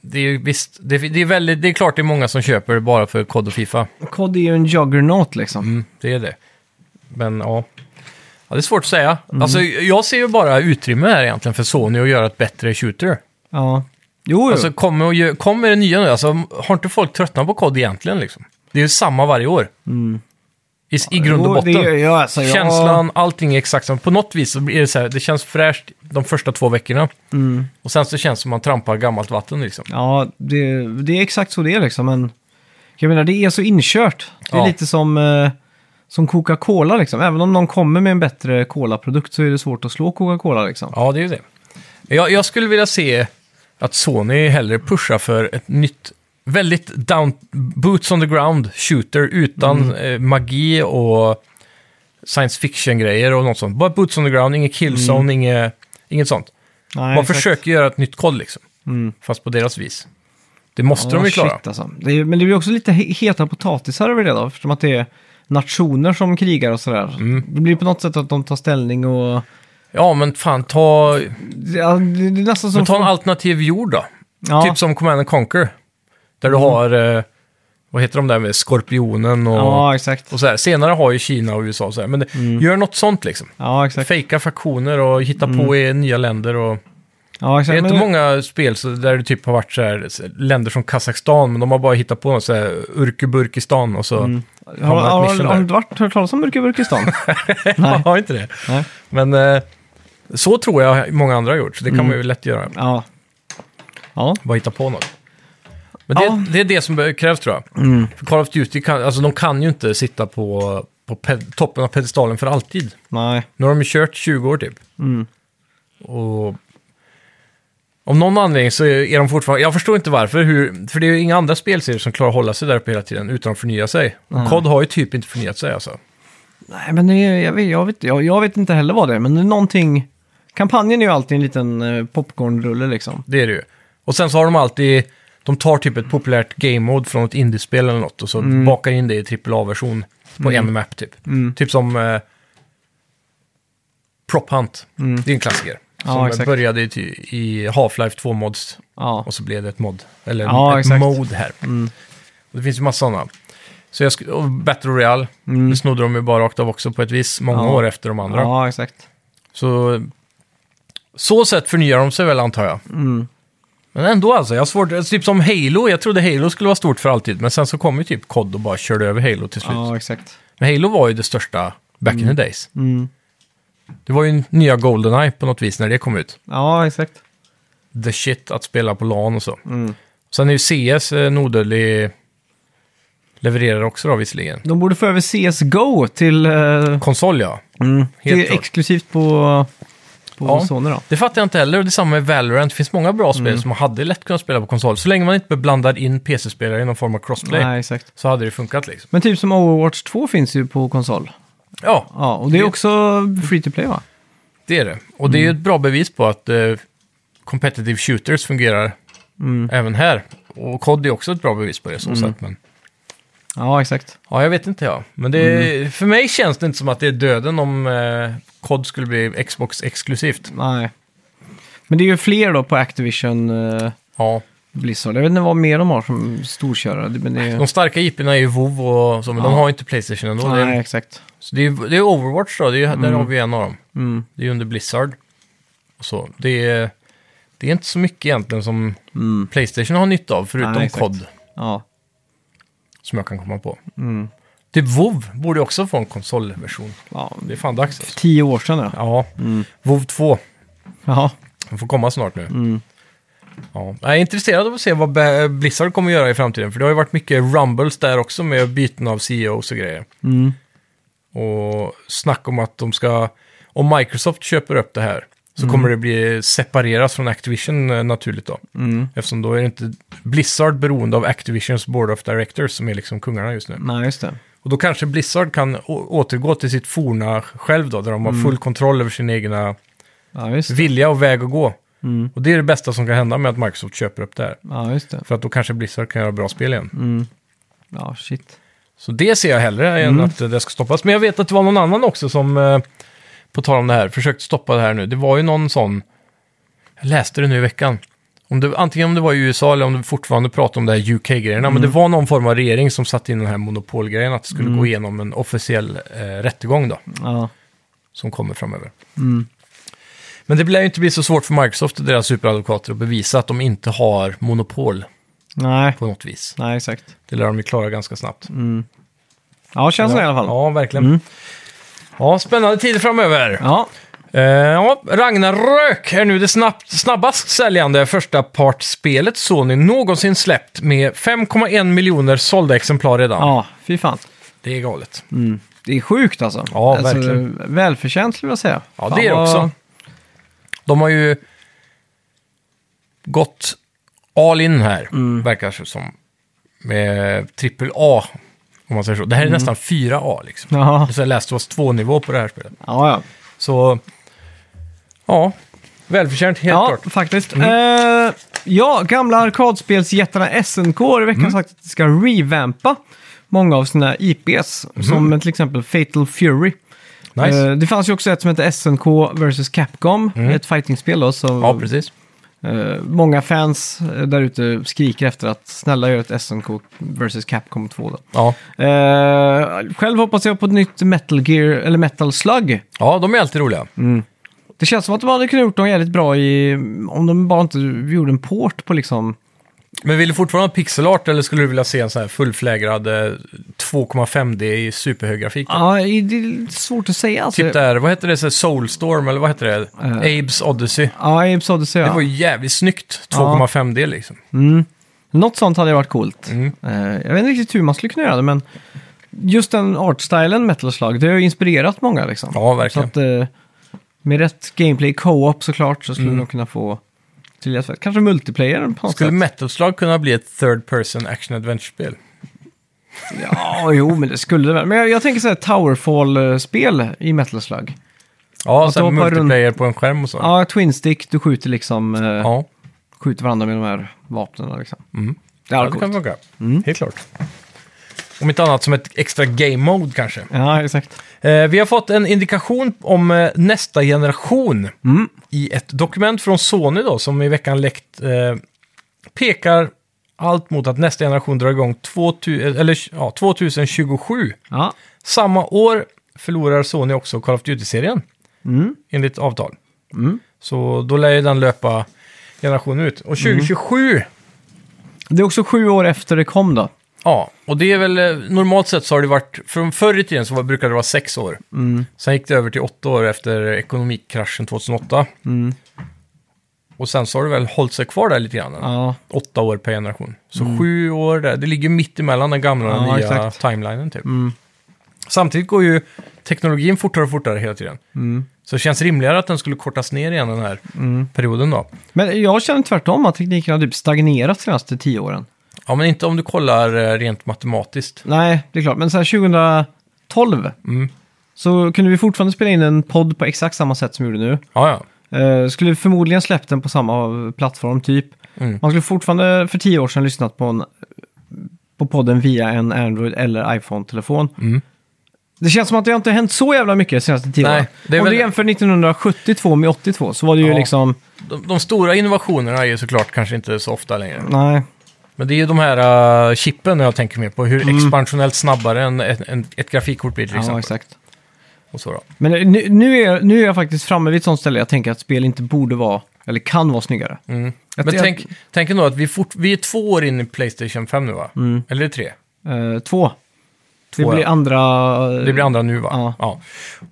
S1: Det är ju visst, det, det är väldigt, det är klart det är många som köper bara för COD och FIFA.
S2: Cod är ju en juggernaut liksom.
S1: Mm, det är det. Men ja. ja, det är svårt att säga.
S2: Mm.
S1: Alltså, jag ser ju bara utrymme här egentligen för Sony att göra ett bättre shooter.
S2: Ja. Jo, jo.
S1: Alltså, kom, och gö- kom med det nya nu. Alltså, har inte folk tröttnat på kod egentligen? Liksom? Det är ju samma varje år. I, I grund och
S2: Mm. Jo,
S1: botten.
S2: det är- ja, alltså, jag-
S1: Känslan, allting är exakt samma. På något vis så blir det så här, det känns fräscht de första två veckorna.
S2: Mm.
S1: Och sen så känns det som man trampar gammalt vatten liksom.
S2: Ja, det, det är exakt så det är liksom. Men jag menar, det är så inkört. Det är
S1: Ja.
S2: lite som, eh, som Coca-Cola liksom. Även om någon kommer med en bättre Cola-produkt så är det svårt att slå Coca-Cola liksom.
S1: Ja, det är ju det. Jag, jag skulle vilja se att Sony hellre pushar för ett nytt, väldigt down, boots on the ground shooter utan
S2: Mm.
S1: eh, magi och science fiction-grejer och något sånt. Bara boots on the ground, inget killzone, inget, inget sånt.
S2: Mm. Nej,
S1: Man
S2: exakt.
S1: försöker göra ett nytt kod liksom. Fast på deras vis. Det måste de
S2: Ja,
S1: ju klara.
S2: shit, alltså. det är, men det blir också lite he- heta potatisar över det då, eftersom att det är nationer som krigar och sådär.
S1: Mm.
S2: Det blir på något sätt att de tar ställning och...
S1: Ja, men fan ta,
S2: Ja, det, det är nästan som...
S1: men ta en alternativ jord då.
S2: ja, Mm.
S1: Typ som Command and Conquer. Där du har, eh, vad heter de där med skorpionen och...
S2: ja, exakt.
S1: Och så här, senare har ju Kina och USA så här, men det-
S2: Mm.
S1: gör något sånt liksom.
S2: Ja, exakt.
S1: Fejka fraktioner och hitta på i nya länder. Och...
S2: Mm. Ja,
S1: Det
S2: exakt.
S1: är inte
S2: Men-
S1: många spel så där det typ har varit så här, så här, länder som Kazakstan, men de har bara hittat på något så här Urkuburkistan och så
S2: Mm.
S1: [laughs]
S2: Har,
S1: hamnat
S2: har, har,
S1: mischen
S2: har
S1: där.
S2: du varit, hört talas om
S1: [laughs]
S2: Burkistan?
S1: Jag
S2: Nej.
S1: har inte det.
S2: Nej.
S1: Men eh, så tror jag många andra har gjort, så det kan
S2: Mm.
S1: man ju lätt göra.
S2: Ja. Ja.
S1: Bara hitta på något. Men det,
S2: Ja. Mm.
S1: det är det som be- krävs tror jag. För Call of Duty kan, alltså, de kan ju inte sitta på, på ped- toppen av pedestalen för alltid.
S2: Nej.
S1: Nu har de ju kört 20 år typ. Och om någon anledning så är de fortfarande... Jag förstår inte varför. Hur, för det är ju inga andra spelserier som klarar att hålla sig där uppe hela tiden utan att förnya sig. Och COD har ju typ inte förnyat sig alltså.
S2: Nej, men det, är- jag, vet, jag, vet, jag, jag vet inte heller vad det är, men det är någonting... Kampanjen är ju alltid en liten eh, popcornrulle liksom.
S1: Det är det ju. Och sen så har de alltid... De tar typ ett populärt game mode från ett indiespel eller något och så bakar in det i AAA-version på en map typ. Typ som eh, Prop Hunt. Det är en klassiker. Som
S2: exakt.
S1: började i, ty- i Half-Life 2 mods
S2: Ja.
S1: och så blev det ett mod. Eller
S2: Ja,
S1: ett
S2: exakt. Mm.
S1: mode här. Och det finns ju massa sådana. Så jag sk- och Battle Royale, det snodde de ju bara rakt av också på ett vis, många
S2: Mm. Ja.
S1: år efter de andra.
S2: ja, exakt.
S1: Så så sätt förnyar de sig väl antar jag.
S2: Mm.
S1: Men ändå alltså, jag har svårt, alltså, typ som Halo, jag trodde Halo skulle vara stort för alltid, men sen så kom ju typ COD och bara körde över Halo till slut.
S2: Ja, Mm. exakt.
S1: Men Halo var ju det största back in the days. Det var ju nya Goldeneye på något vis när det kom ut.
S2: Ja, exakt.
S1: The shit att spela på LAN och så. Sen är ju eh, CS en odödlig levererare också då visserligen.
S2: De borde få över CSGO till, eh,
S1: Konsol ja.
S2: till
S1: helt klart.
S2: exklusivt på, på
S1: Ja.
S2: Sony då.
S1: Det fattar jag inte heller. Och detsamma med Valorant. Det finns många bra spel som man hade lätt kunnat spela på konsol. Så länge man inte blandar in PC-spelare i någon form av crossplay
S2: Nej, exakt.
S1: så hade det funkat liksom.
S2: Men typ som Overwatch 2 finns ju på konsol.
S1: Ja,
S2: Ja, och det är
S1: Det-
S2: också free to play va?
S1: det är det. Och det är ju ett bra bevis på att eh, competitive shooters fungerar även här. Och COD är också ett bra bevis på det så sätt. Men,
S2: Ja, exakt.
S1: ja, jag vet inte jag. Men det är,
S2: Mm.
S1: för mig känns det inte som att det är döden om eh, COD skulle bli Xbox-exklusivt.
S2: Nej. Men det är ju fler då på Activision eh,
S1: Ja,
S2: Blizzard. Jag vet inte vad mer de har som storkörare. det- Men det är...
S1: de starka IP-erna är ju WoW och så, men de
S2: Ja.
S1: har ju inte Playstation ändå. Det är-
S2: Nej, Mm. exakt.
S1: Så det är, det är Overwatch då, det är, ju- där har vi en av dem.
S2: Mm.
S1: Det är ju under Blizzard. Och så. Det, är, det är inte så mycket egentligen som Playstation har nytta av, förutom
S2: Nej, exakt.
S1: COD,
S2: Mm. Ja.
S1: som jag kan komma på.
S2: Mm.
S1: Typ WoW borde också få en konsolversion.
S2: ja.
S1: Det är fan dags alltså.
S2: Tio år sedan ja.
S1: Ja,
S2: Mm.
S1: WoW 2.
S2: Ja,
S1: Den får komma snart nu. Ja. Jag är intresserad av att se vad Ba- Blizzard kommer göra i framtiden, för det har ju varit mycket rumbles där också med byten av CEOs och grejer. Och snack om att de ska, om Microsoft köper upp det här, så kommer det bli separeras från Activision eh, naturligt då.
S2: Mm.
S1: Eftersom då är det inte Blizzard beroende av Activisions Board of Directors som är liksom kungarna just nu.
S2: nej just det.
S1: Och då kanske Blizzard kan å- återgå till sitt forna själv då, där de har full kontroll över sina egna
S2: Ja, just det. Mm.
S1: vilja och väg att gå. Och det är det bästa som kan hända med att Microsoft köper upp det här.
S2: Ja, just det. Mm.
S1: För att då kanske Blizzard kan göra bra spel igen.
S2: Ja, shit.
S1: Så det ser jag hellre än att det ska stoppas. Men jag vet att det var någon annan också som, eh, på tal om det här, försökte stoppa det här nu. Det var ju någon sån, jag läste det nu i veckan. Om det, antingen om det var i USA eller om det fortfarande pratade om det här UK-grejerna. Men det var någon form av regering som satte in den här monopolgrejen. Att det skulle gå igenom en officiell eh, rättegång då.
S2: Ja. Mm.
S1: som kommer framöver. Men det lär ju inte bli så svårt för Microsoft och deras superadvokater att bevisa att de inte har monopol
S2: Nej.
S1: på något vis.
S2: Nej, exakt.
S1: Det lär de ju klara ganska snabbt.
S2: Ja, känns det i alla fall. Mm.
S1: Ja, verkligen. Ja, spännande tider framöver.
S2: Ja.
S1: Eh, ja, Ragnarök är nu det snabbt, snabbast säljande första partspelet Sony någonsin släppt med 5,1 miljoner sålda exemplar redan.
S2: ja, Mm. fy fan.
S1: Det är galet.
S2: Det är sjukt alltså.
S1: Ja,
S2: alltså,
S1: verkligen.
S2: Välförtjänt skulle jag säga.
S1: Ja,
S2: Fan,
S1: det är det
S2: vad-
S1: också. De har ju gått all in här,
S2: Mm.
S1: verkar det som. Med trippel A, om man säger så. Det här
S2: Mm.
S1: är nästan 4A liksom.
S2: Ja,
S1: Så jag läste oss två nivå på det här spelet.
S2: ja. ja.
S1: Så, ja. Välförtjänt, helt
S2: ja,
S1: klart. Mm.
S2: faktiskt. Eh, ja, gamla arkadspelsjättarna SNK har i veckan
S1: Mm.
S2: sagt att de ska revampa många av sina IPs, som till exempel Fatal Fury.
S1: Mm. Nice. Mm.
S2: Eh, det fanns ju också ett som hette SNK vs Capcom, ett fightingspel då, som
S1: ja, precis.
S2: eh, många fans eh, där ute skriker efter att snälla gör ett SNK vs Capcom 2 då.
S1: Ja.
S2: Eh, själv hoppas jag på ett nytt Metal Gear, eller Metal Slug.
S1: ja, de är alltid roliga.
S2: Det känns som att de hade kunnat gjort dem jävligt bra i, om de bara inte gjorde en port på liksom...
S1: Men vill du fortfarande ha pixelart eller skulle du vilja se en sån här fullflägrad eh, 2,5D i superhög grafik?
S2: Ja, det är lite svårt att säga alltså.
S1: Typ där, vad heter det, så här Soulstorm eller vad heter det? Abe's Odyssey.
S2: Ja, Abe's Odyssey
S1: Det var
S2: Eh. ja.
S1: ju jävligt snyggt, 2,5D liksom.
S2: Något sånt hade varit coolt.
S1: Mm.
S2: Eh, jag vet inte riktigt hur man skulle kunna göra det, men just den artstylen Metal Slug, det har ju inspirerat många liksom.
S1: Ja, verkligen.
S2: Så att, eh, med rätt gameplay, co-op såklart, så skulle
S1: Mm.
S2: de kunna få till ett- Kanske multiplayer på något
S1: Skulle
S2: sätt.
S1: Metal Slug kunna bli ett third person action adventure-spel?
S2: Ja, jo, men det skulle det väl. Men jag, jag tänker så här Towerfall-spel i Metal Slug.
S1: Ja,
S2: Att
S1: så här
S2: hoppa
S1: multiplayer på en skärm och så. Ja.
S2: Ja, Twin Stick, du skjuter liksom... eh, skjuter varandra med de här vapnen. Liksom. Det
S1: Mm. Ja,
S2: hade
S1: det kan
S2: coolt.
S1: funka. Helt klart. Om inte annat som ett extra game mode kanske.
S2: Ja, exakt.
S1: Eh, vi har fått en indikation om eh, nästa generation i ett dokument från Sony då, som i veckan läckt eh, pekar allt mot att nästa generation drar igång 2000, eller, ja, 2027.
S2: Ja,
S1: Samma år förlorar Sony också Call of Duty-serien
S2: Mm.
S1: enligt avtal. Så då lär ju den löpa generationen ut. Och 2027,
S2: Det är också sju år efter det kom då.
S1: ja, och det är väl eh, normalt sett så har det varit, från förr i tiden så var, brukade det vara sex år.
S2: Mm,
S1: Sen gick det över till åtta år efter ekonomikraschen 2008.
S2: mm.
S1: Och sen så har det väl hållit sig kvar där lite grann.
S2: Ja, Mm.
S1: Åtta år per generation. Så sju år där, det ligger mitt emellan den gamla och den
S2: Ja,
S1: nya
S2: exakt. Mm.
S1: timelinen typ. Samtidigt går ju teknologin fortare och fortare hela tiden.
S2: mm.
S1: Så det känns rimligare att den skulle kortas ner igen den här perioden då.
S2: men jag känner tvärtom att tekniken har typ stagnerat de senaste tio åren.
S1: Ja, men inte om du kollar eh, rent matematiskt.
S2: Nej, det är klart. Men sen 2012
S1: Mm.
S2: så kunde vi fortfarande spela in en podd på exakt samma sätt som vi gjorde nu.
S1: Ja, ja.
S2: Eh, skulle förmodligen släppt den på samma plattform typ.
S1: Mm.
S2: Man skulle fortfarande för tio år sedan lyssnat på, en, på podden via en Android eller iPhone-telefon.
S1: Mm.
S2: Det känns som att det har inte hänt så jävla mycket de senaste tio
S1: Nej,
S2: åren.
S1: det är
S2: Om
S1: väl-
S2: du jämför 1972 med 82 så var det ju
S1: Ja.
S2: liksom,
S1: De, de stora innovationerna är ju såklart kanske inte så ofta längre.
S2: nej,
S1: Men det är ju de här eh, chippen jag tänker mer på. Hur expansionellt snabbare än ett, en, ett grafikkort blir till
S2: Mm. ja,
S1: exempel.
S2: exakt.
S1: Och så då.
S2: Men nu, nu, är, nu är jag faktiskt framme vid ett sånt ställe jag tänker att spel inte borde vara, eller kan vara snyggare. Jag-
S1: Mm. Men
S2: jag-
S1: tänk, tänk ändå att vi, fort, vi är två år in i Playstation 5 nu va?
S2: Mm.
S1: Eller tre?
S2: Eh, två.
S1: Två,
S2: Det blir
S1: ja.
S2: andra...
S1: Det blir andra nu va?
S2: Ja.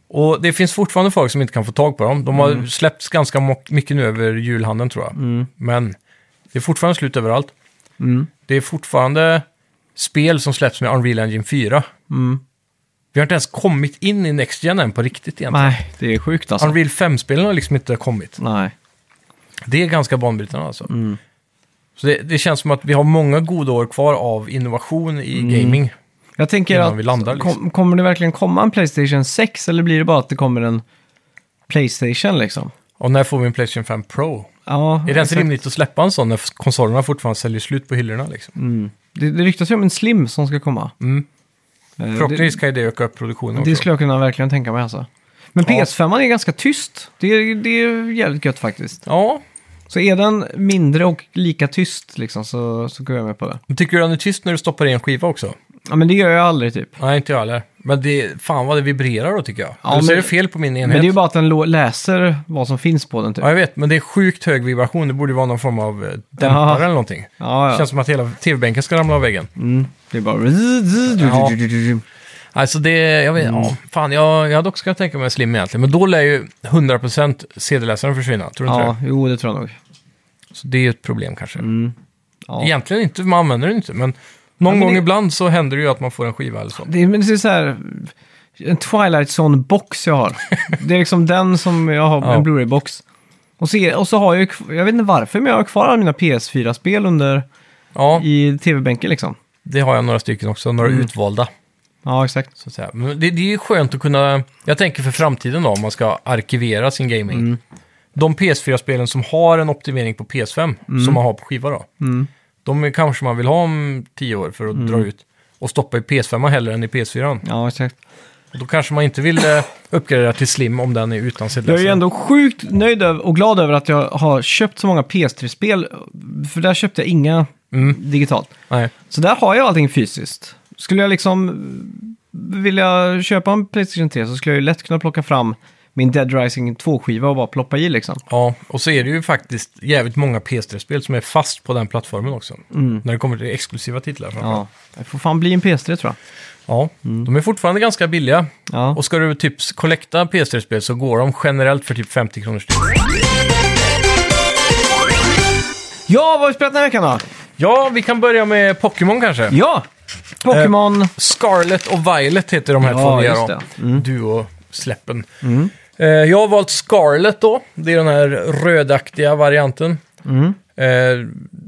S1: Och det finns fortfarande folk som inte kan få tag på dem. De har
S2: Mm.
S1: släppts ganska mo- mycket nu över julhandeln tror jag. Men det är fortfarande slut överallt.
S2: Mm.
S1: Det är fortfarande spel som släpps med Unreal Engine 4.
S2: Mm.
S1: Vi har inte ens kommit in i Next Gen än på riktigt egentligen.
S2: Nej, det är sjukt alltså.
S1: Unreal 5-spelen har liksom inte kommit.
S2: Nej.
S1: Det är ganska banbrytande alltså.
S2: Mm.
S1: Så det, det känns som att vi har många goda år kvar av innovation i
S2: Mm.
S1: gaming.
S2: Jag tänker
S1: Innan
S2: att,
S1: vi landar, liksom.
S2: kom, kommer det verkligen komma en Playstation 6 eller blir det bara att det kommer en Playstation liksom?
S1: Och när får vi en Playstation 5 Pro?
S2: Ja,
S1: Är det ens
S2: exakt.
S1: rimligt att släppa en sån när konsolerna fortfarande säljer slut på hyllorna? Liksom?
S2: Mm. Det, det ryktas ju om en Slim som ska komma.
S1: Mm.
S2: Eh,
S1: Förhoppningsvis kan ju det öka upp produktionen
S2: Det, det
S1: också.
S2: skulle jag kunna verkligen tänka mig alltså. Men
S1: Ja.
S2: PS5 är ganska tyst. Det, är- det är jävligt gött faktiskt.
S1: Ja,
S2: Så är den mindre och lika tyst liksom så, så går jag med på det.
S1: men tycker du den är tyst när du stoppar i en skiva också?
S2: Ja, men det gör jag aldrig typ.
S1: Nej, inte jag heller. Men det, fan vad det vibrerar då tycker jag.
S2: Ja,
S1: Eller så
S2: men-
S1: är det fel på min
S2: Men
S1: enhet.
S2: det är ju bara att den lo- läser vad som finns på den typ.
S1: Ja, jag vet, men det är sjukt hög vibration. Det borde vara någon form av eh, dämpare
S2: Ja.
S1: eller någonting.
S2: Ja, ja.
S1: Det känns som att hela tv-bänken ska ramla av väggen.
S2: Mm. Det är bara...
S1: Alltså det, jag vet,
S2: Mm.
S1: ja, fan jag, jag hade också kunnat tänka mig Slim egentligen. Men då lär ju 100% CD-läsaren försvinna, tror du inte
S2: Ja, jo det tror jag nog.
S1: det? Så det är ju ett problem kanske.
S2: Ja.
S1: Egentligen inte, man använder den inte. Men någon
S2: men
S1: gång
S2: det-
S1: ibland så händer det ju att man får en skiva eller så.
S2: Det är, men det är så här, en Twilight Zone-box jag har. Det är liksom den som jag har,
S1: Ja.
S2: en Blu-ray-box. Och så, är- och så har jag ju, kv- jag vet inte varför, men jag har kvar alla mina PS4-spel under,
S1: Ja,
S2: i tv-bänken liksom.
S1: det har jag några stycken också, några
S2: Mm.
S1: utvalda.
S2: Ja, exakt.
S1: Så att säga. Men det, det är ju skönt att kunna, jag tänker för framtiden då, om man ska arkivera sin gaming.
S2: Mm.
S1: De PS4-spelen som har en optimering på PS5,
S2: Mm.
S1: som man har på skiva då. De är kanske man vill ha om tio år för att
S2: Mm.
S1: dra ut. Och stoppa i PS5 hellre än i PS4.
S2: Ja, exakt.
S1: Och då kanske man inte vill eh, uppgradera till Slim om den är utan
S2: Jag är ju
S1: CD-läsare.
S2: ändå sjukt nöjd över- och glad över att jag har köpt så många PS3-spel. För där köpte jag inga digitalt.
S1: Nej.
S2: Så där har jag allting fysiskt. Skulle jag liksom eh, vilja köpa en Playstation 3 så skulle jag ju lätt kunna plocka fram min Dead Rising 2-skiva och bara ploppa i liksom.
S1: Ja, och så är det ju faktiskt jävligt många PS3-spel som är fast på den plattformen också.
S2: Mm.
S1: När det kommer till exklusiva titlar. framförallt.
S2: Ja. Det får fan bli en PS3 tror jag.
S1: ja. De är fortfarande ganska billiga.
S2: Mm. Ja.
S1: Och ska du typ kollekta PS3-spel så går de generellt för typ 50 kronor styck.
S2: ja, vad har vi spelat den här veckan då?
S1: Ja, vi kan börja med Pokémon kanske.
S2: Ja! Pokémon...
S1: Eh. Scarlet och Violet heter de här
S2: Ja,
S1: två nya
S2: just
S1: då.
S2: det. Mm.
S1: Duo-släppen. Eh, jag har valt Scarlet då. Det är den här rödaktiga varianten.
S2: Mm.
S1: Eh,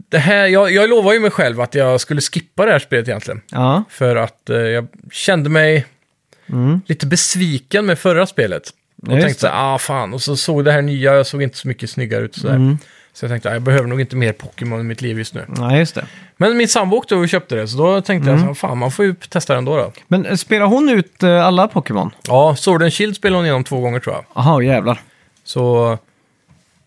S1: det här, jag, jag lovar ju mig själv att jag skulle skippa det här spelet egentligen.
S2: Ja.
S1: För att eh, jag kände mig lite besviken med förra spelet. Och
S2: Mm. Ja, just Mm.
S1: tänkte så här, ah fan, och så såg det här nya, jag såg inte så mycket snyggare ut sådär. Så jag tänkte, "Ja, jag behöver nog inte mer Pokémon i mitt liv just nu.
S2: Nej, just det.
S1: Men min sambo åkte och köpte det, så då tänkte
S2: Mm.
S1: jag jag, fan man får ju testa det ändå då.
S2: Men eh, spelar hon ut eh, alla Pokémon?
S1: Ja, Sword and Shield spelade hon igenom två gånger tror jag.
S2: Aha, jävlar.
S1: Så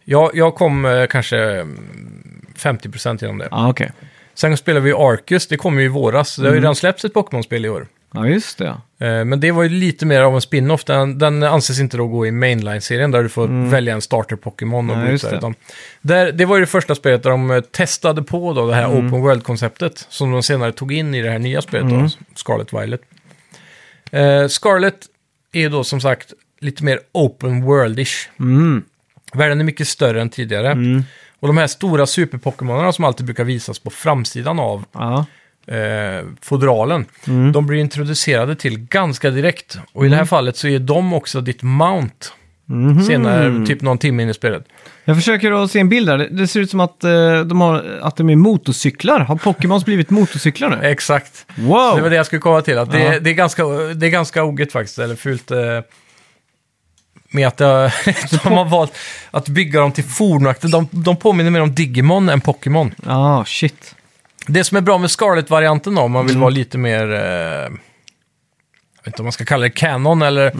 S1: jag, jag kom eh, kanske mm, 50% genom det.
S2: Ja, ah, okej.
S1: Sen spelade vi Arcus, det kom ju i våras. Det har ju redan släppts ett Pokémon-spel i år.
S2: Ja, just det.
S1: Eh, Men det var ju lite mer av en spin-off. Den, den anses inte då gå i mainline-serien där du får välja en starter-Pokémon
S2: Nej,
S1: och gå ut
S2: Mm. just
S1: där.
S2: det.
S1: Utan där, det var ju det första spelet där de eh, testade på då det här
S2: Mm.
S1: open world-konceptet som de senare tog in i det här nya spelet
S2: Mm.
S1: då, Scarlet Violet. Eh, Scarlet är ju då som sagt lite mer open world-ish.
S2: Mm.
S1: Världen är mycket större än tidigare. Och de här stora super-Pokémonerna som alltid brukar visas på framsidan av
S2: Ja.
S1: eh, fodralen.
S2: Mm.
S1: De blir introducerade till ganska direkt. Och i det här fallet så är de också ditt mount.
S2: Mm.
S1: Senare, typ någon timme in i spelet.
S2: Mhm. Jag försöker att se en bild där. Det- Det ser ut som att, eh, de, har, att de är motorcyklar. Har Pokémons blivit motorcyklar nu?
S1: Exakt.
S2: Wow!
S1: Eh, Det var det jag skulle komma till. Att det,
S2: Ja.
S1: det, är ganska, det är ganska ogett faktiskt, eller fult. Eh, med att eh, [laughs] de har valt att bygga dem till fornakter. De, de påminner mer om Digimon än Pokémon.
S2: Ja, Ah, shit.
S1: Det som är bra med Scarlet-varianten då, om man vill vara lite mer... Eh, jag vet inte om man ska kalla det canon eller...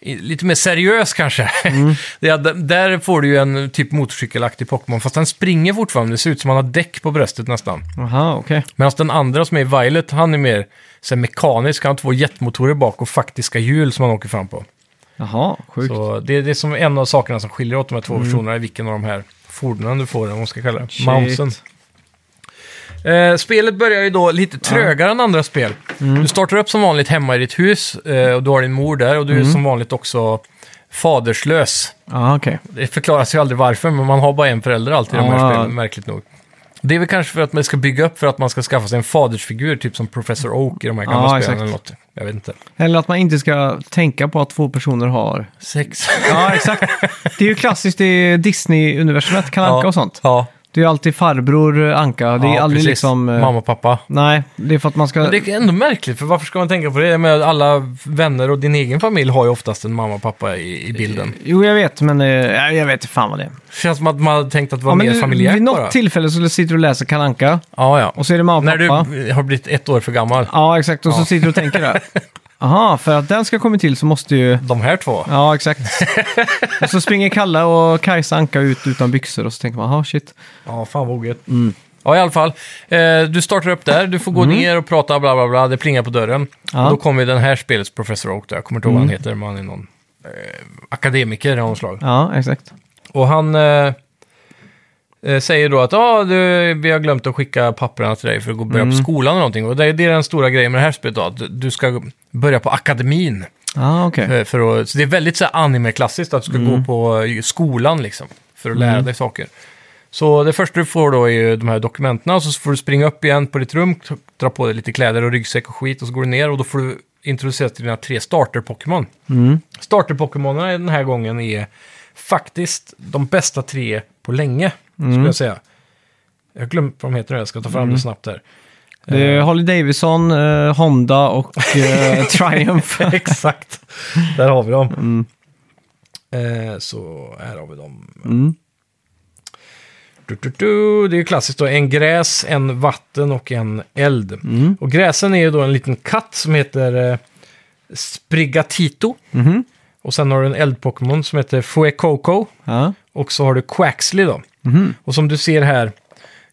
S1: i- Lite mer seriös kanske. [laughs] det är, att d- där får du ju en typ motorcykelaktig Pokémon, fast den springer fortfarande. Det ser ut som han har däck på bröstet nästan.
S2: Aha, okej.
S1: Medan den andra som är Violet, han är mer så här, mekanisk. Han har två jetmotorer bak och faktiska hjul som han åker fram på.
S2: Jaha, sjukt. Mm.
S1: Så det, det är som en av sakerna som skiljer åt de här två versionerna, är vilken av de här fordonen du får, eller vad man ska kalla det.
S2: Shit.
S1: Mountsen. Eh, spelet börjar ju då lite trögare än andra spel.
S2: Mm.
S1: Du startar upp som vanligt hemma i ditt hus eh, och du har din mor där och du
S2: Mm.
S1: är som vanligt också faderslös.
S2: Ja, Ah, okej.
S1: Det förklaras ju aldrig varför, men man har bara en förälder alltid i de här
S2: Ah.
S1: spelen, märkligt nog. Det är väl kanske för att man ska bygga upp för att man ska skaffa sig en fadersfigur, typ som Professor Oak i de här gamla
S2: Ja,
S1: spelen
S2: Ah, exakt.
S1: eller något. Jag vet inte.
S2: Eller att man inte ska tänka på att två personer har...
S1: Sex.
S2: Ja, exakt. Det är ju klassiskt i Disney-universumet, Kalle Anka och sånt.
S1: Ja,
S2: Det är ju alltid farbror eh, Anka. Det är
S1: ja,
S2: aldrig
S1: precis.
S2: liksom... eh,
S1: Mamma och pappa.
S2: Nej, det är för att man ska...
S1: Men det är ändå märkligt, för varför ska man tänka på det? Med alla vänner och din egen familj har ju oftast en mamma och pappa i, i bilden.
S2: Jo, jag vet, men eh, ja, jag vet inte fan vad det är.
S1: Känns som att man hade tänkt att vara
S2: Ja, men
S1: mer
S2: du-
S1: familjärt
S2: Vid något
S1: bara.
S2: tillfälle så sitter du och läser Kalle Anka
S1: Ja, ja.
S2: och så är det mamma
S1: När
S2: och
S1: du
S2: pappa.
S1: har blivit ett år för gammal.
S2: Ja, exakt. Och så sitter du och tänker
S1: [laughs]
S2: där. Aha, för att den ska komma till så måste ju...
S1: De här två.
S2: Ja,
S1: [laughs]
S2: exakt. och så springer Kalle och Kajsa Anka ut utan byxor och så tänker man, aha, shit.
S1: Ja, fan vad ogött. Ja, i alla fall. Eh, du startar upp där, du får gå ner och prata, bla bla bla, det plingar på dörren.
S2: Ja.
S1: Och då kommer den här spelets Professor Oak, där. jag kommer inte ihåg vad han heter, men han är någon eh, akademiker av något slag.
S2: Ja, exakt.
S1: Och han eh, eh, säger då att ah, du, vi har glömt att skicka papperna till dig för att gå och börja på skolan eller någonting. Och det, det är den stora grejen med det här spelet då, att du ska börja på akademin.
S2: Ja, okej.
S1: Eh, För att, så det är väldigt så här anime-klassiskt att du ska gå på eh, skolan liksom, för att lära dig saker. Så det första du får då är ju de här dokumenten och så får du springa upp igen på ditt rum, t- dra på dig lite kläder och ryggsäck och skit och så går du ner och då får du introduceras till dina tre starter-Pokémon. Starter-Pokémonerna den här gången är faktiskt de bästa tre på länge, skulle jag säga. Jag har glömt vad de heter nu, jag ska ta fram det snabbt här. [laughs]
S2: Det är Holly Davidson, eh, Honda och
S1: [laughs]
S2: eh, Triumph.
S1: Exakt. Där har vi dem. Eh, så här har vi dem.
S2: Mm.
S1: Du, du, du. Det är ju klassiskt då. En gräs, en vatten och en eld. Och gräsen är ju då en liten katt som heter eh, Sprigatito.
S2: Mhm.
S1: Och sen har du en eldpokémon som heter Fuecoco.
S2: Ja.
S1: Och så har du Quaxly då. Och som du ser här,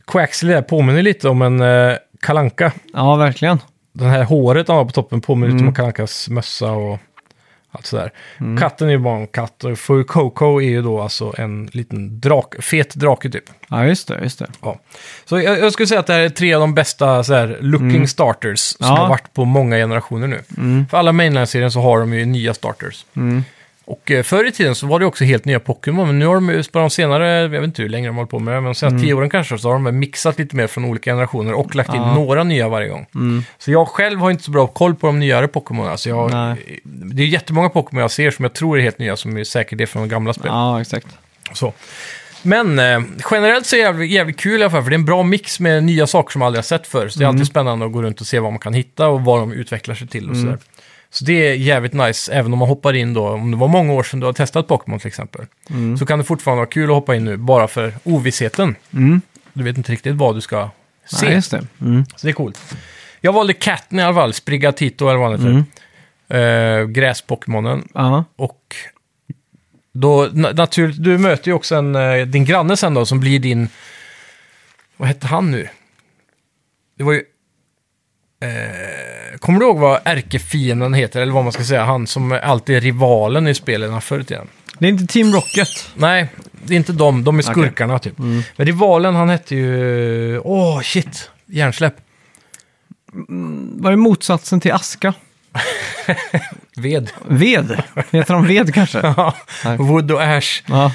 S1: Quaxly där påminner lite om en eh, kalanka.
S2: ja, verkligen.
S1: Den här håret han har på toppen påminner lite om Kalle Ankas mössa och allt sådär. Katten är ju bara en katt och Fur Coco är ju då alltså en liten drak, fet drake typ.
S2: Ja, just det, just det.
S1: Ja. Så jag, jag skulle säga att det här är tre av de bästa så här, looking starters som
S2: Mm. Ja. Mm.
S1: har varit på många generationer nu. För alla mainline-serien så har de ju nya starters. Och eh, förr i tiden så var det också helt nya Pokémon, men nu har de ju, på de senare, jag vet inte hur länge de har hållit på med det, men de
S2: Mm.
S1: senaste tio åren kanske, så har de mixat lite mer från olika generationer och lagt in några nya varje gång.
S2: Mm.
S1: Så jag själv har inte så bra koll på de nyare Pokémon. Alltså jag,
S2: Nej.
S1: det är jättemånga Pokémon jag ser som jag tror är helt nya, som är säkert är från de gamla spelen.
S2: Ja, exakt.
S1: Så. Men eh, generellt så är det jävligt, jävligt kul i alla fall, för det är en bra mix med nya saker som man aldrig har sett förr. Så det är alltid spännande att gå runt och se vad man kan hitta och vad de utvecklar sig till och sådär. Så det är jävligt nice, även om man hoppar in då, om det var många år sedan du har testat Pokémon till exempel. Så kan det fortfarande vara kul att hoppa in nu, bara för ovissheten.
S2: Mm.
S1: Du vet inte riktigt vad du ska se.
S2: Ja, just det. Mm.
S1: Så det är coolt. Jag valde katten i alla fall, Sprigatito eller vad han heter. Eh, Gräspokémonen.
S2: Ja.
S1: Och då, na- naturligt, du möter ju också en, eh, din granne sen då, som blir din... Vad hette han nu? Det var ju... Eh, kommer du ihåg vad ärkefienden heter, eller vad man ska säga? Han som alltid är rivalen i spelen förr i tiden.
S2: Det är inte Team Rocket.
S1: Nej, det är inte de. De är
S2: Okej.
S1: skurkarna typ. Men rivalen, han hette ju... Åh, shit! Hjärnsläpp.
S2: Vad är motsatsen till aska?
S1: Ved.
S2: Ved. Heter de ved kanske?
S1: [laughs] Ja,
S2: Nej.
S1: Wood och Ash.
S2: Ja.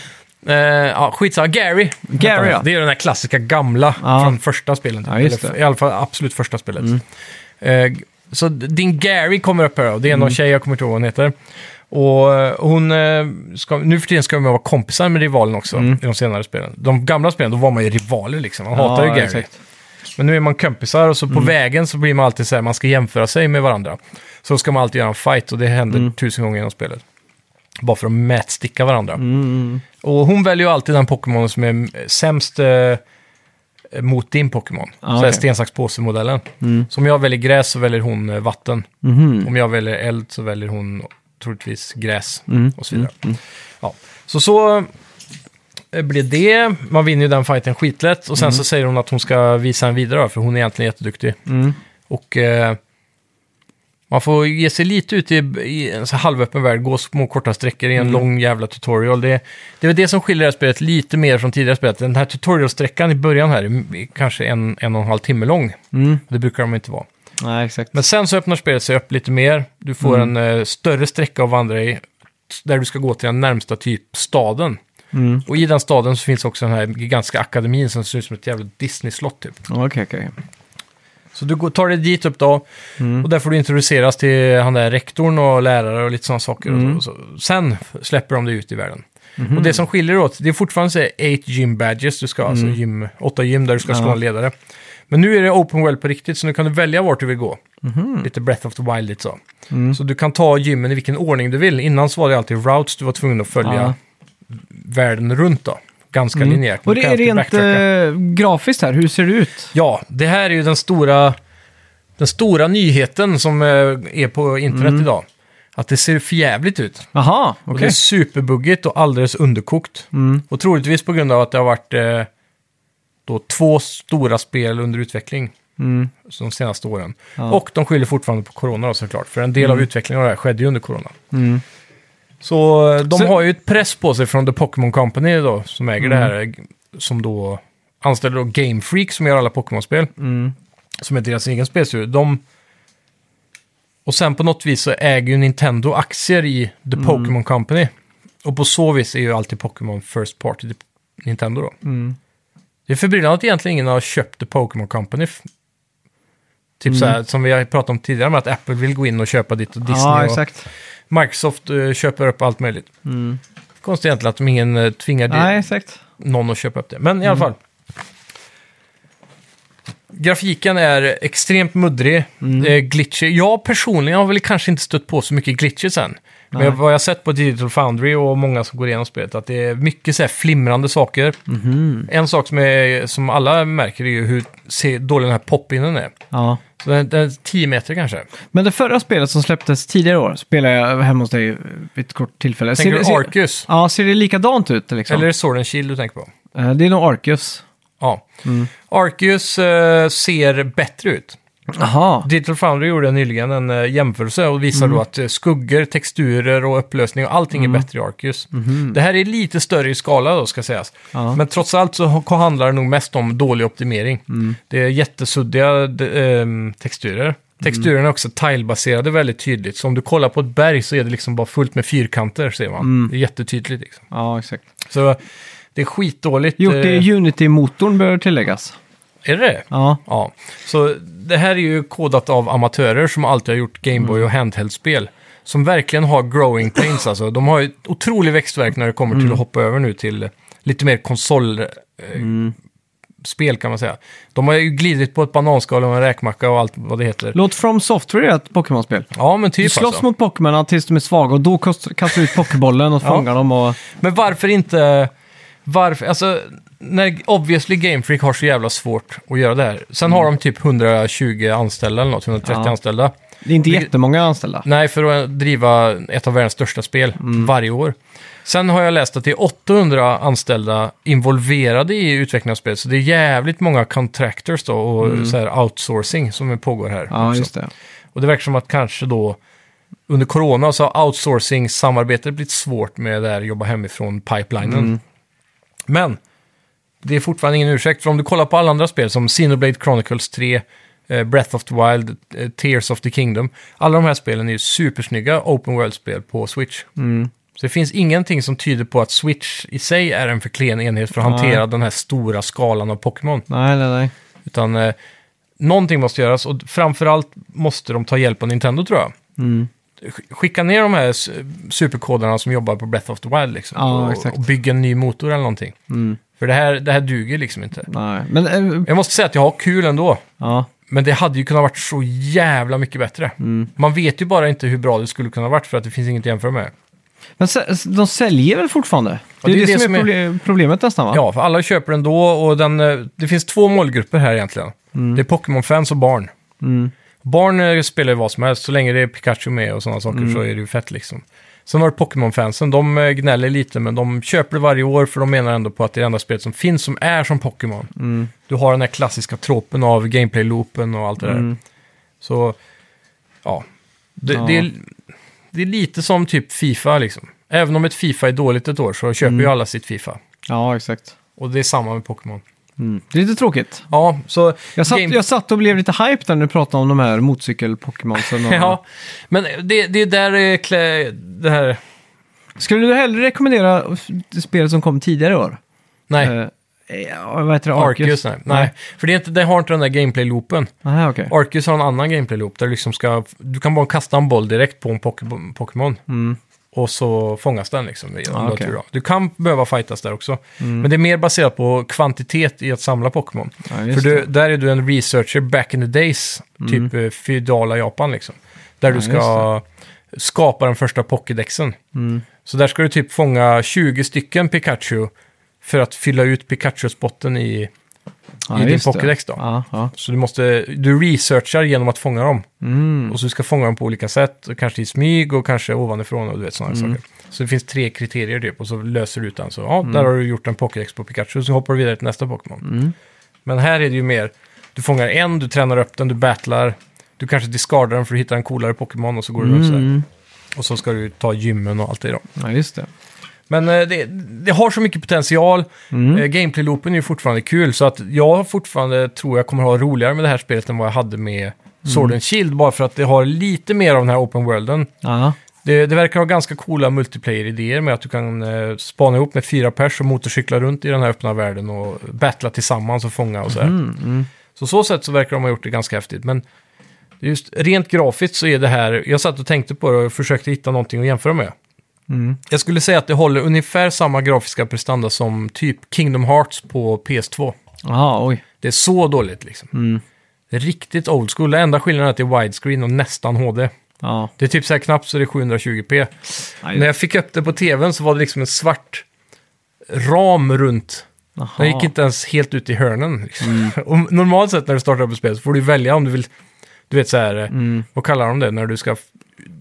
S1: Eh, ja, skitsamma. Gary.
S2: Gary, ja.
S1: Det är den där klassiska gamla
S2: Ja.
S1: från första spelen. Typ.
S2: Ja, just
S1: Eller,
S2: det. Mm.
S1: I alla fall absolut första spelet. Eh, så din Gary kommer upp här och det är någon
S2: Mm.
S1: tjej, jag kommer inte ihåg vad hon heter. Och eh, hon, eh, ska, nu för tiden ska man vara kompisar med rivalen också i de senare spelen. De gamla spelen, då var man ju rivaler liksom. Man hatar ju
S2: Mm. Ja,
S1: Gary.
S2: exakt. Mm.
S1: Men nu är man kompisar och så på vägen så blir man alltid så här, man ska jämföra sig med varandra. Så ska man alltid göra en fight och det händer
S2: Mm.
S1: tusen gånger genom spelet. Bara för att mätsticka varandra.
S2: Mm.
S1: Och hon väljer ju alltid den Pokémon som är eh, sämst eh, mot din Pokémon.
S2: Ah,
S1: så här
S2: okej. Mm.
S1: sten, sax, påse-modellen. Så om jag väljer gräs så väljer hon eh, vatten.
S2: Mhm.
S1: Om jag väljer eld så väljer hon troligtvis gräs och så vidare. Ja. Så så eh, blir det. Man vinner ju den fighten skitlätt. Och sen så säger hon att hon ska visa en vidare, för hon är egentligen jätteduktig. Och eh, man får ge sig lite ut i, i en så här halvöppen värld, gå små korta sträckor i en lång jävla tutorial. Det, det är väl det som skiljer det här spelet lite mer från tidigare spelet. Den här tutorialsträckan i början här är m- kanske en, en och en halv timme lång. Det brukar de inte vara.
S2: Nej, exakt.
S1: Mm. Men sen så öppnar spelet sig upp lite mer. Du får en eh, större sträcka att vandra i, där du ska gå till den närmsta typ staden.
S2: Mm.
S1: Och i den staden så finns också den här gigantiska akademin som ser ut som ett jävla Disney-slott typ.
S2: Okej, okej. Mm.
S1: Så du går- tar dig dit upp då och där får du introduceras till han där rektorn och lärare och lite sådana saker. Och så. Sen släpper de dig ut i världen. Och det som skiljer åt, det är fortfarande så här eight gym badges, du ska alltså gym, åtta gym där du ska slå
S2: Ja.
S1: en ledare. Men nu är det open world på riktigt, så nu kan du välja vart du vill gå. Lite Breath of the Wild så.
S2: Mm.
S1: Så du kan ta gymmen i vilken ordning du vill. Innan så var det alltid routes du var tvungen att följa
S2: Ja. Mm.
S1: världen runt då. Ganska linjärt.
S2: Och
S1: Du
S2: det
S1: kan
S2: är
S1: alltid
S2: rent
S1: backtracka.
S2: eh, grafiskt här, hur ser det ut?
S1: Ja, det här är ju den stora, den stora nyheten som eh, är på internet idag. Att det ser förjävligt ut.
S2: Jaha, Mm. okej. Mm,
S1: Och det är superbuggigt och alldeles underkokt. Och troligtvis på grund av att det har varit eh, då två stora spel under utveckling
S2: Mm.
S1: så de senaste åren.
S2: Ja.
S1: Och de skyller fortfarande på corona då, såklart, för en del av utvecklingen av det här skedde ju under corona.
S2: Mm.
S1: Så eh, de
S2: Så-
S1: har ju ett press på sig från The Pokémon Company då, som äger det här,
S2: Mm.
S1: eh, som då anställer då Game Freak som gör alla Pokémon-spel
S2: Mm.
S1: som är deras egen spelstudio, de... Och sen på något vis så äger ju Nintendo aktier i The
S2: Mm.
S1: Pokémon Company. Och på så vis är ju alltid Pokémon First Party till Nintendo då.
S2: Mm.
S1: Det är förbryllande att egentligen ingen har köpt The Pokémon Company. F- Typ
S2: Mm.
S1: så här, som vi har pratat om tidigare med att Apple vill gå in och köpa ditt och Disney
S2: ja,
S1: och
S2: exakt.
S1: Microsoft eh, köper upp allt möjligt. Konstigt egentligen att de ingen eh, tvingar det-
S2: Mm. Nej, Mm. exakt.
S1: någon att köpa upp det. Men i alla fall. Grafiken är extremt muddrig,
S2: Mm.
S1: eh, glitchig. Jag personligen har väl kanske inte stött på så mycket glitches än. Men
S2: Nej.
S1: jag- vad jag har sett på Digital Foundry och många som går igenom spelet, att det är mycket så här flimrande saker.
S2: Mhm.
S1: En sak som, är, som alla märker är ju hur se- dålig den här pop-inen är.
S2: Ja.
S1: Så den, den är 10 meter kanske.
S2: Men det förra spelet som släpptes tidigare i år spelade jag hemma hos dig vid ett kort tillfälle.
S1: Tänker
S2: det-
S1: du Arcus?
S2: Ja, ser det likadant ut liksom?
S1: Eller är det Sword and Shield du tänker på?
S2: Eh, Det är nog Arcus.
S1: Ja.
S2: Mm.
S1: Arcus eh, ser bättre ut.
S2: Jaha.
S1: Digital Foundry gjorde nyligen en eh, jämförelse och visar
S2: Mm.
S1: då att eh, skuggor, texturer och upplösning och allting är bättre i Arcus. Det här är lite större i skala då, ska sägas.
S2: Mm-hmm. Ja.
S1: Men trots allt så ha- handlar det nog mest om dålig optimering.
S2: Mm.
S1: Det är jättesuddiga de, ehm, texturer. Texturerna är också tilebaserade väldigt tydligt. Så om du kollar på ett berg så är det liksom bara fullt med fyrkanter, ser man.
S2: Mm.
S1: Det är jättetydligt liksom.
S2: Ja, exakt.
S1: Så det är skitdåligt.
S2: Gjort det
S1: eh,
S2: i Unity-motorn bör tilläggas.
S1: är det?
S2: Ja.
S1: Ja, så det här är ju kodat av amatörer som alltid har gjort Gameboy
S2: Mm.
S1: och handheld-spel.
S2: Mm.
S1: Som verkligen har growing pains alltså. De har ju otrolig växtverk när det kommer till att hoppa över nu till lite mer konsol... eh,
S2: Mm.
S1: spel kan man säga. De har ju glidit på ett bananskal och en räkmacka och allt vad det heter.
S2: Låt From Software göra ett Pokémon-spel.
S1: Ja, men typ
S2: Du slåss
S1: alltså.
S2: mot Pokémonerna tills de är svaga och då kost- kastar du ut Pokébollen och
S1: Ja.
S2: fångar dem. Och...
S1: Men varför inte... Varför, alltså, när obviously Game Freak har så jävla svårt att göra det här. Sen har de typ 120 anställda eller något, 130
S2: Mm. Ja.
S1: anställda.
S2: Det är inte
S1: Vilket-
S2: jättemånga anställda.
S1: Nej, för att driva ett av världens största spel
S2: Mm.
S1: varje år. Sen har jag läst att det är 800 anställda involverade i utvecklingen av spelet, så det är jävligt många contractors då och så här outsourcing som pågår här.
S2: Mm. Ja,
S1: också.
S2: just det.
S1: Och det verkar som att kanske då under corona så har outsourcing-samarbetet blivit svårt med det här jobba hemifrån-pipelinen. Men det är fortfarande ingen ursäkt, för om du kollar på alla andra spel som Xenoblade Chronicles 3, eh, Breath of the Wild, eh, Tears of the Kingdom. Alla de här spelen är ju supersnygga open world-spel på Switch. Så det finns ingenting som tyder på att Switch i sig är en för klen enhet för att hantera
S2: Nej.
S1: den här stora skalan av Pokémon.
S2: Nej, nej, nej.
S1: Utan eh, någonting måste göras och framförallt måste de ta hjälp av Nintendo tror jag.
S2: Mm.
S1: Sk- Skicka ner de här su- superkodarna som jobbar på Breath of the Wild liksom,
S2: Ja,
S1: och,
S2: exakt. Mm.
S1: och bygga en ny motor eller någonting. För det här, det här duger liksom inte.
S2: nej. Men, eh,
S1: Jag måste säga att jag har kul ändå,
S2: ja.
S1: men det hade ju kunnat varit så jävla mycket bättre.
S2: Mm.
S1: Man vet ju bara inte hur bra det skulle kunna varit för att det finns inget att jämföra med.
S2: Men sä- de säljer väl fortfarande? Det är det, som är, proble- problemet nästan va?
S1: Ja, för alla köper den då och den, eh, det finns två målgrupper här egentligen. Det är Pokémon-fans och barn.
S2: Mm.
S1: Barn eh, spelar ju vad som helst, så länge det är Pikachu med och sådana saker
S2: Mm.
S1: så är det ju fett liksom. Sen har du Pokémon-fansen, de eh, gnäller lite men de köper det varje år för de menar ändå på att det är det enda spelet som finns som är som Pokémon.
S2: Mm.
S1: Du har den här klassiska tropen av gameplay-loopen och allt det där.
S2: Mm.
S1: Så, ja. Det,
S2: Ja.
S1: det, är, det är lite som typ Fifa liksom. Även om ett Fifa är dåligt ett år så köper ju
S2: Mm.
S1: alla sitt Fifa.
S2: ja, exakt.
S1: Och det är samma med Pokémon.
S2: Mm. Det är lite tråkigt.
S1: Ja, så...
S2: Jag satt,
S1: Game-
S2: jag satt och blev lite hype där när du pratade om de här
S1: [laughs]
S2: motorcykel-Pokémonsen. och-
S1: ja, men det, det är där eh, klä, det här...
S2: Skulle du hellre rekommendera f- det spelet som kom tidigare i år?
S1: Nej,
S2: Eh, ja, vad heter det?
S1: Arceus, nej. nej. För det, är inte, det har inte den där gameplay-loopen.
S2: Nej, okej.
S1: Arceus har en annan gameplay-loop där du liksom ska... Du kan bara kasta en boll direkt på en Poké- Pokémon. Och så fångas den liksom. i-
S2: Mm.
S1: om
S2: Ah,
S1: du har
S2: okej. Mm.
S1: tur då. Du kan behöva fightas där också. Men det är mer baserat på kvantitet i att samla Pokémon.
S2: Ja, just
S1: För du,
S2: det. Mm.
S1: där är du en researcher back in the days, typ eh, feudala Japan liksom. Där du
S2: Ja,
S1: ska skapa den första Pokédexen.
S2: Mm.
S1: Så där ska du typ fånga 20 stycken Pikachu för att fylla ut Pikachu-spotten i...
S2: Ja,
S1: i din
S2: just det.
S1: Pokédex då.
S2: Ja, ja.
S1: Så du måste... Du researchar genom att fånga dem.
S2: Mm.
S1: Och så ska fånga dem på olika sätt, och kanske i smyg och kanske ovanifrån och du vet sådana
S2: Mm.
S1: saker. Så det finns tre kriterier typ och så löser du ut den. Så ja, där har du gjort en Pokédex på Pikachu, så hoppar du vidare till nästa Pokémon.
S2: Mm.
S1: Men här är det ju mer, du fångar en, du tränar upp den, du battlar, du kanske discardar den för att hitta en coolare Pokémon och så går du runt sådär.
S2: Mm.
S1: Och så ska du ta gymmen och allt det då.
S2: Ja, just det.
S1: Men eh, det, det har så mycket potential.
S2: Mm.
S1: Eh, Gameplay-loopen är ju fortfarande kul, så att jag fortfarande tror jag kommer ha roligare med det här spelet än vad jag hade med
S2: Mm.
S1: Sword and Shield, bara för att det har lite mer av den här open worlden.
S2: Ja.
S1: Det, det verkar ha ganska coola multiplayer-idéer med att du kan eh, spana ihop med fyra pers och motorcykla runt i den här öppna världen och battla tillsammans och fånga och så här.
S2: Mm, mm.
S1: Så så sätt så verkar de ha gjort det ganska häftigt, men just rent grafiskt så är det här, jag satt och tänkte på det och försökte hitta någonting att jämföra med.
S2: Mm.
S1: Jag skulle säga att det håller ungefär samma grafiska prestanda som typ Kingdom Hearts på PS2.
S2: Aha, oj.
S1: Det är så dåligt liksom.
S2: Mm.
S1: Riktigt old school. Den enda skillnaden är att det är widescreen och nästan HD.
S2: Ja.
S1: Det är typ så här knappt så det är 720p.
S2: Aj.
S1: När jag fick upp det på tvn så var det liksom en svart ram runt.
S2: Aha.
S1: Den gick inte ens helt ut i hörnen. Liksom.
S2: Mm.
S1: [laughs] Och normalt sett när du startar upp ett spel så får du välja om du vill, du vet så här, eh,
S2: Mm.
S1: vad kallar de det, när du ska f-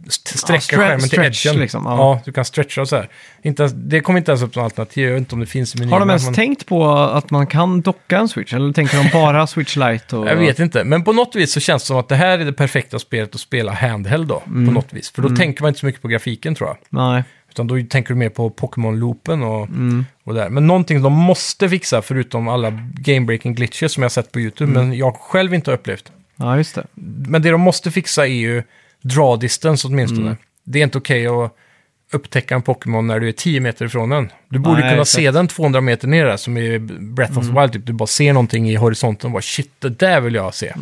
S1: st- sträcka
S2: Ja, stre-
S1: skärmen till
S2: stretch,
S1: edgen.
S2: liksom,
S1: ja.
S2: ja.
S1: du kan stretcha och så här. Inte ens, det kommer inte ens upp som alternativ, jag vet inte om det finns i menyn.
S2: Har de
S1: men
S2: ens
S1: man-
S2: tänkt på att man kan docka en Switch? Eller tänker de bara [laughs] Switch Lite? Och...
S1: Jag vet inte, men på något vis så känns det som att det här är det perfekta spelet att spela handheld då,
S2: Mm.
S1: på något vis. För då tänker man inte så mycket på grafiken tror jag.
S2: Nej.
S1: Utan då tänker du mer på Pokémon-loopen och, och där. Men någonting de måste fixa, förutom alla game-breaking glitches som jag sett på YouTube, men jag själv inte har upplevt.
S2: Ja, just det.
S1: Men det de måste fixa är ju draw distance åtminstone.
S2: Mm.
S1: Det är inte okej att upptäcka en Pokémon när du är 10 meter ifrån den. Du borde
S2: Nej,
S1: kunna
S2: exakt. Mm.
S1: se den 200 meter ner där, som i
S2: Mm.
S1: Breath of the Wild. Typ. Du bara ser någonting i horisonten och bara shit, det där vill jag se.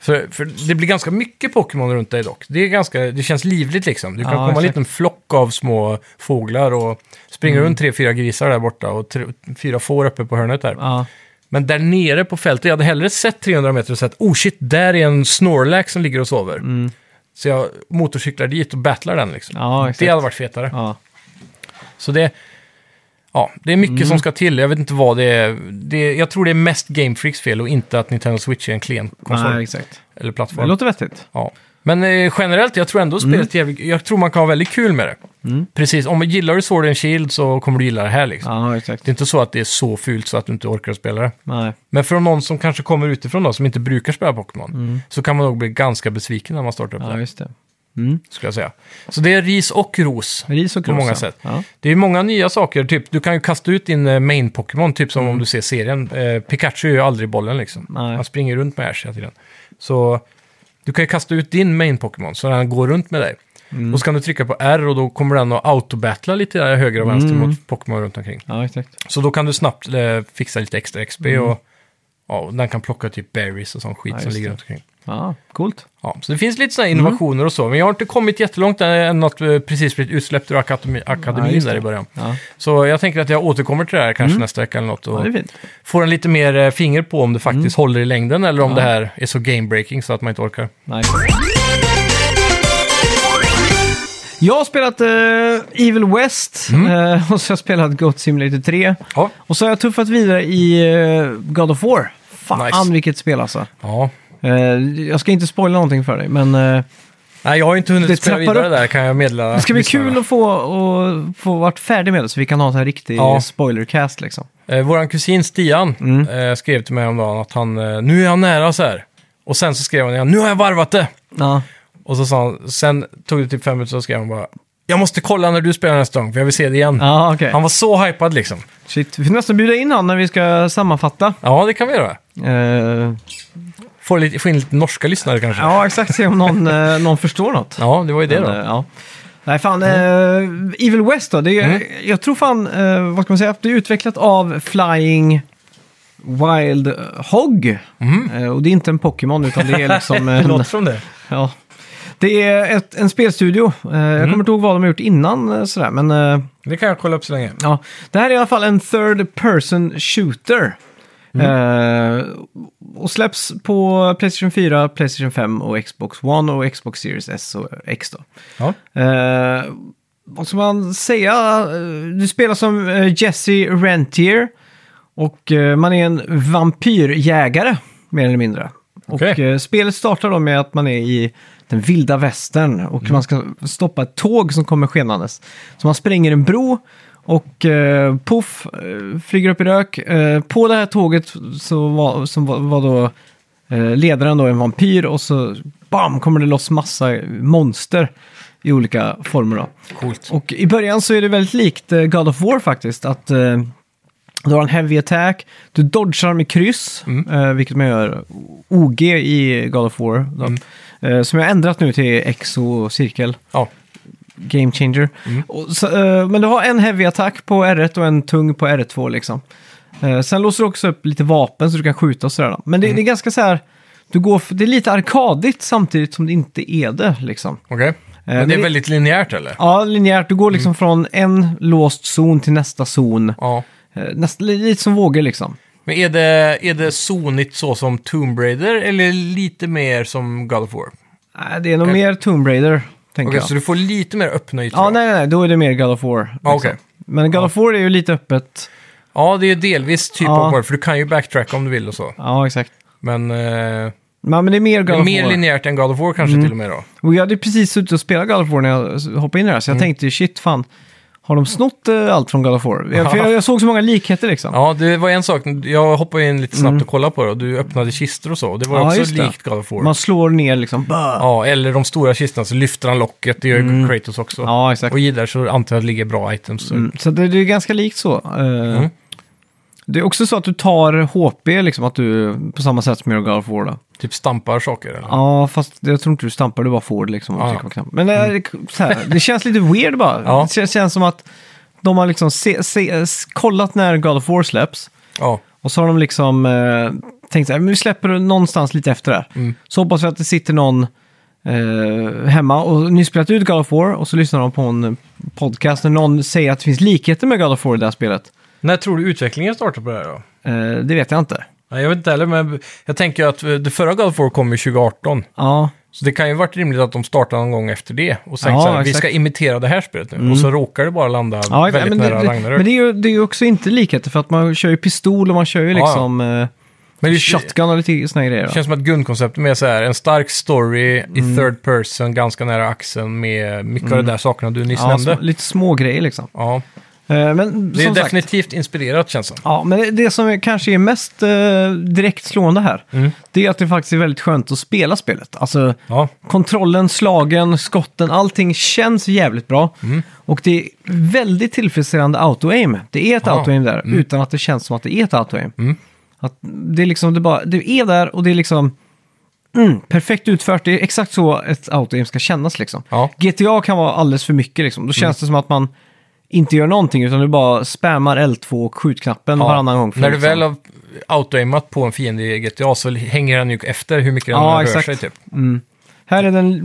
S1: Så, för det blir ganska mycket Pokémon runt dig dock. Det, är ganska, det känns livligt liksom. Du kan
S2: Ja,
S1: komma en
S2: exakt. Mm.
S1: liten flock av små fåglar och springa runt tre, fyra grisar där borta och tre, fyra får uppe på hörnet där.
S2: Ja.
S1: Men där nere på fältet, jag hade hellre sett 300 meter och sett oh shit, där är en Snorlax som ligger och sover. Så jag motorcyklar dit och battlar den liksom.
S2: Mm. Ja, exakt.
S1: det hade varit fetare.
S2: Ja.
S1: Så det, ja, det är mycket
S2: Mm.
S1: som ska till. Jag vet inte vad det är. Det, jag tror det är mest Game Freaks fel och inte att Nintendo Switch är en klen konsol
S2: Nej, exakt.
S1: eller
S2: Det
S1: plattform.
S2: låter Mm. vettigt.
S1: Ja. Men eh, generellt, jag tror ändå spelet är jävligt, Jag tror man kan ha väldigt kul med det. Precis, om man gillar du Sword and Shield så kommer du gilla det här liksom.
S2: Mm. Ja, exakt.
S1: Det är inte så att det är så fult så att du inte orkar spela det.
S2: Nej.
S1: Men för någon som kanske kommer utifrån då, som inte brukar spela Pokémon, så kan man nog bli ganska besviken när man startar upp
S2: Mm. Ja,
S1: det,
S2: just det. Mm.
S1: skulle jag säga. Så det är ris och ros.
S2: Ris och
S1: På
S2: kros,
S1: många
S2: ja.
S1: sätt.
S2: Ja.
S1: Det är ju många nya saker, typ du kan ju kasta ut din eh, main Pokémon, typ som om du ser serien. Eh, Pikachu är ju aldrig bollen liksom.
S2: Mm. Nej.
S1: Han springer runt med Ash hela tiden. Så du kan ju kasta ut din main Pokémon, så den går runt med dig.
S2: Mm.
S1: Och så kan du trycka på R och då kommer den att autobattla lite där höger och vänster
S2: Mm.
S1: mot Pokémon runt omkring.
S2: Ja, exakt.
S1: Så då kan du snabbt eh, fixa lite extra XP och, ja, och den kan plocka typ berries och sån skit
S2: Mm. Ja,
S1: som
S2: just det.
S1: ligger
S2: Mm.
S1: runt omkring.
S2: Ja, coolt.
S1: Ja, så det finns lite sådana innovationer och så, men jag har inte kommit jättelångt än att eh, precis blivit utsläppt ur akademi, akademin
S2: Ja, just
S1: där
S2: det.
S1: i början.
S2: Ja,
S1: Så jag tänker att jag återkommer till det här kanske nästa vecka eller något
S2: ja
S1: och
S2: det är fint.
S1: får en lite mer eh, finger på om det faktiskt håller i längden eller om
S2: Ja.
S1: det här är så game-breaking så att man inte orkar.
S2: Nice. Jag har spelat eh, Evil West
S1: Mm.
S2: eh, [laughs] och så har jag spelat Goat Simulator 3.
S1: Ja,
S2: Och så har jag tuffat vidare i eh, God of War. Fan
S1: Nice.
S2: vilket spel alltså.
S1: ja.
S2: Eh, jag ska inte spoila någonting för dig, men eh,
S1: Nej, jag har ju inte hunnit
S2: Det
S1: spela
S2: trappar
S1: vidare
S2: upp.
S1: där kan jag meddela.
S2: det ska bli
S1: lyssnarna.
S2: kul att få, och, få vara färdig med det så vi kan ha en sån här riktig
S1: Ja.
S2: spoilercast liksom.
S1: Eh, våran kusin Stian eh, skrev till mig häromdagen att han, eh, nu är han nära så här. Och sen så skrev han igen, nu har jag varvat det.
S2: Ja,
S1: Och så sa han, sen tog det typ fem minuter så skrev han bara, jag måste kolla när du spelar nästa gång för jag vill se det igen.
S2: ja okej.
S1: Han var så hypad liksom.
S2: Shit, vi får nästan bjuda in honom när vi ska sammanfatta.
S1: Ja, det kan vi göra.
S2: Eh,
S1: Få, lite, få in lite norska lyssnare kanske. Ja,
S2: ja, exakt. Se om någon, eh, någon förstår något.
S1: det var ju det
S2: Men,
S1: då.
S2: eh, ja. Nej, fan. eh, Evil West då. Det är, Jag tror fan, eh, vad ska man säga, det är utvecklat av Flying Wild Hog. Eh, och det är inte en Pokémon utan det är [laughs] liksom
S1: Det
S2: en...
S1: låter som det.
S2: ja. Det är ett, en spelstudio. Eh, Jag kommer inte ihåg vad de har gjort innan eh, sådär, men... eh,
S1: Det kan jag kolla upp så länge.
S2: Ja, det här är i alla fall en third person shooter. Eh, och släpps på Playstation 4, Playstation 5 och Xbox One och Xbox Series S och X då.
S1: Ja.
S2: Eh, vad ska man säga? Eh, Du spelar som eh, Jesse Rentier och eh, man är en vampyrjägare mer eller mindre. Och
S1: Okej.
S2: eh, spelet startar då med att man är i den vilda västern och man ska stoppa ett tåg som kommer skenandes. Så man spränger en bro och eh, puff, eh, flyger upp i rök. Eh, på det här tåget så var, som var, var då eh, ledaren då en vampyr och så bam kommer det loss massa monster i olika former då.
S1: Coolt.
S2: Och i början så är det väldigt likt eh, God of War faktiskt. Att eh, du har en heavy attack, du dodgar med kryss, eh, vilket man gör OG i God of War. Då, eh, som jag har ändrat nu till X och cirkel,
S1: Ja,
S2: game changer. Och, så, eh, men du har en heavy attack på R1 och en tung på R2 liksom. Eh, sen låser du också upp lite vapen så du kan skjuta och sådär. då. Men det, det är ganska så här, du går, f- det är lite arkadigt samtidigt som det inte är det liksom.
S1: okej. Men
S2: men
S1: det är
S2: det-
S1: väldigt linjärt eller?
S2: Ja, linjärt. Du går
S1: Mm.
S2: liksom från en låst zon till nästa zon.
S1: Ja.
S2: Eh, Nästa, lite som vågor liksom.
S1: Men är det, är det sonigt så som Tomb Raider eller lite mer som God of War? Okej,
S2: Nej, det är nog
S1: Okej.
S2: mer Tomb Raider, tänker jag.
S1: så du får lite mer öppna ytor?
S2: Ja,
S1: då?
S2: nej, nej, då är det mer God of War. Liksom.
S1: Ja, Ah, okej.
S2: Men God of War är ju lite öppet.
S1: ja, det är ju delvis typ
S2: Ja.
S1: av War, för du kan ju backtracka om du vill och så.
S2: Ja, exakt.
S1: Men eh,
S2: Men, men det är mer God
S1: det är
S2: of
S1: mer
S2: War. Mm.
S1: linjärt än God of War kanske till och med då.
S2: Och jag hade precis suttit och spelat God of War när jag hoppade in i det här,
S1: Mm.
S2: så jag tänkte ju shit, fan. Har de snott eh, allt från God of
S1: [laughs]
S2: War? Jag, för jag, jag såg så många likheter liksom.
S1: Ja, det var en sak. Jag hoppade in lite snabbt och kollade på det och du öppnade kistor och så. Och det var
S2: Mm. Ja,
S1: också
S2: just det.
S1: likt God of War.
S2: Man slår ner liksom. Bah!
S1: Ja, eller de stora kistorna så lyfter han locket, det gör ju Kratos också.
S2: Mm. Ja, exakt.
S1: Och i där så antar jag att det ligger bra items.
S2: Mm, så det, det är ganska likt så. Eh,
S1: Mm.
S2: Det är också så att du tar HP, liksom att du på samma sätt som i God of War. Då.
S1: Typ stampar saker. Eller?
S2: Ja, fast jag tror inte du stampar, du bara får det liksom. Och
S1: Ja, ja.
S2: trycker på knappen. Men eh, det, så här, det känns lite weird bara.
S1: Ja.
S2: Det känns, känns som att de har liksom se, se, s- kollat när God of War släpps.
S1: Ja.
S2: Och så har de liksom eh, tänkte så här, men vi släpper det någonstans lite efter det här.
S1: Mm.
S2: Så hoppas vi att det sitter någon eh, hemma och nyss spelat ut God of War och så lyssnar de på en podcast när någon säger att det finns likheter med God of War i det här spelet.
S1: När tror du utvecklingen startar på det här då?
S2: Eh, det vet jag inte.
S1: Nej, jag vet inte heller, men jag tänker ju att eh, det förra God of War kom ju 2018.
S2: Ja,
S1: Så det kan ju varit rimligt att de startar någon gång efter det och sen
S2: Ja,
S1: så här, vi
S2: exakt. Mm.
S1: ska imitera det här spelet nu. Och så råkar det bara landa
S2: ja
S1: väldigt
S2: men,
S1: nära
S2: det, det,
S1: Ragnarök.
S2: men det är ju det är ju också inte likheter för att man kör ju pistol och man kör ju
S1: Ja, ja.
S2: liksom eh,
S1: Men det-
S2: shotgun och lite såna grejer.
S1: Det
S2: va?
S1: känns som att grundkonceptet med så här, en stark story
S2: Mm.
S1: i third person, ganska nära axeln med mycket av de där sakerna du nyss
S2: Ja,
S1: nämnde.
S2: små, lite små grejer liksom.
S1: Ja,
S2: Eh, men
S1: det är
S2: som sagt,
S1: definitivt inspirerat känns det
S2: Ja, men det- det som är- kanske är mest eh, direkt slående här, det är att det faktiskt är väldigt skönt att spela spelet. Alltså,
S1: Ja,
S2: kontrollen, slagen, skotten, allting känns jävligt bra.
S1: Mm.
S2: Och det är väldigt tillfredsställande auto-aim. Det är ett
S1: Ah,
S2: auto-aim där, utan att det känns som att det är ett auto-aim.
S1: Mm.
S2: Att det, är liksom, det, bara, det är där och det är liksom mm, perfekt utfört. Det är exakt så ett auto-aim ska kännas liksom.
S1: Ja. Mm.
S2: GTA kan vara alldeles för mycket liksom. Då känns det som att man inte gör någonting utan du bara spammar L2 och skjutknappen
S1: ja.
S2: varannan gång. för
S1: När du
S2: liksom-
S1: väl har auto-aimat på en fiende i GTA så hänger den ju efter hur mycket den
S2: Ja,
S1: rör
S2: exakt.
S1: sig typ.
S2: Här är den,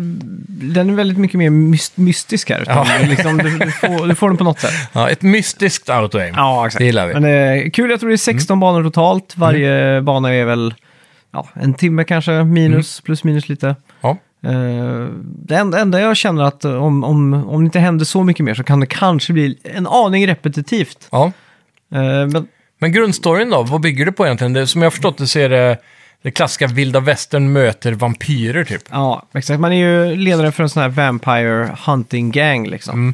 S2: den är väldigt mycket mer myst, mystisk här. Utan
S1: Ja.
S2: liksom, du, du, får, du får den på något sätt.
S1: Ja, ett mystiskt auto-aim.
S2: Ja, exakt.
S1: Det gillar vi. Mm.
S2: Men eh, kul, jag tror det är 16 banor totalt. Varje bana är väl ja, en timme kanske, minus, plus minus lite.
S1: Mm. Ja.
S2: Eh, det enda, enda jag känner att eh, om, om, om det inte händer så mycket mer så kan det kanske bli en aning repetitivt.
S1: Ja.
S2: Eh, men
S1: Men grundstoryn då, vad bygger det på egentligen? Det, som jag har förstått det så är det det klassiska vilda västern möter vampyrer typ.
S2: ja, exakt. Man är ju ledare för en sån här Vampire Hunting Gang liksom.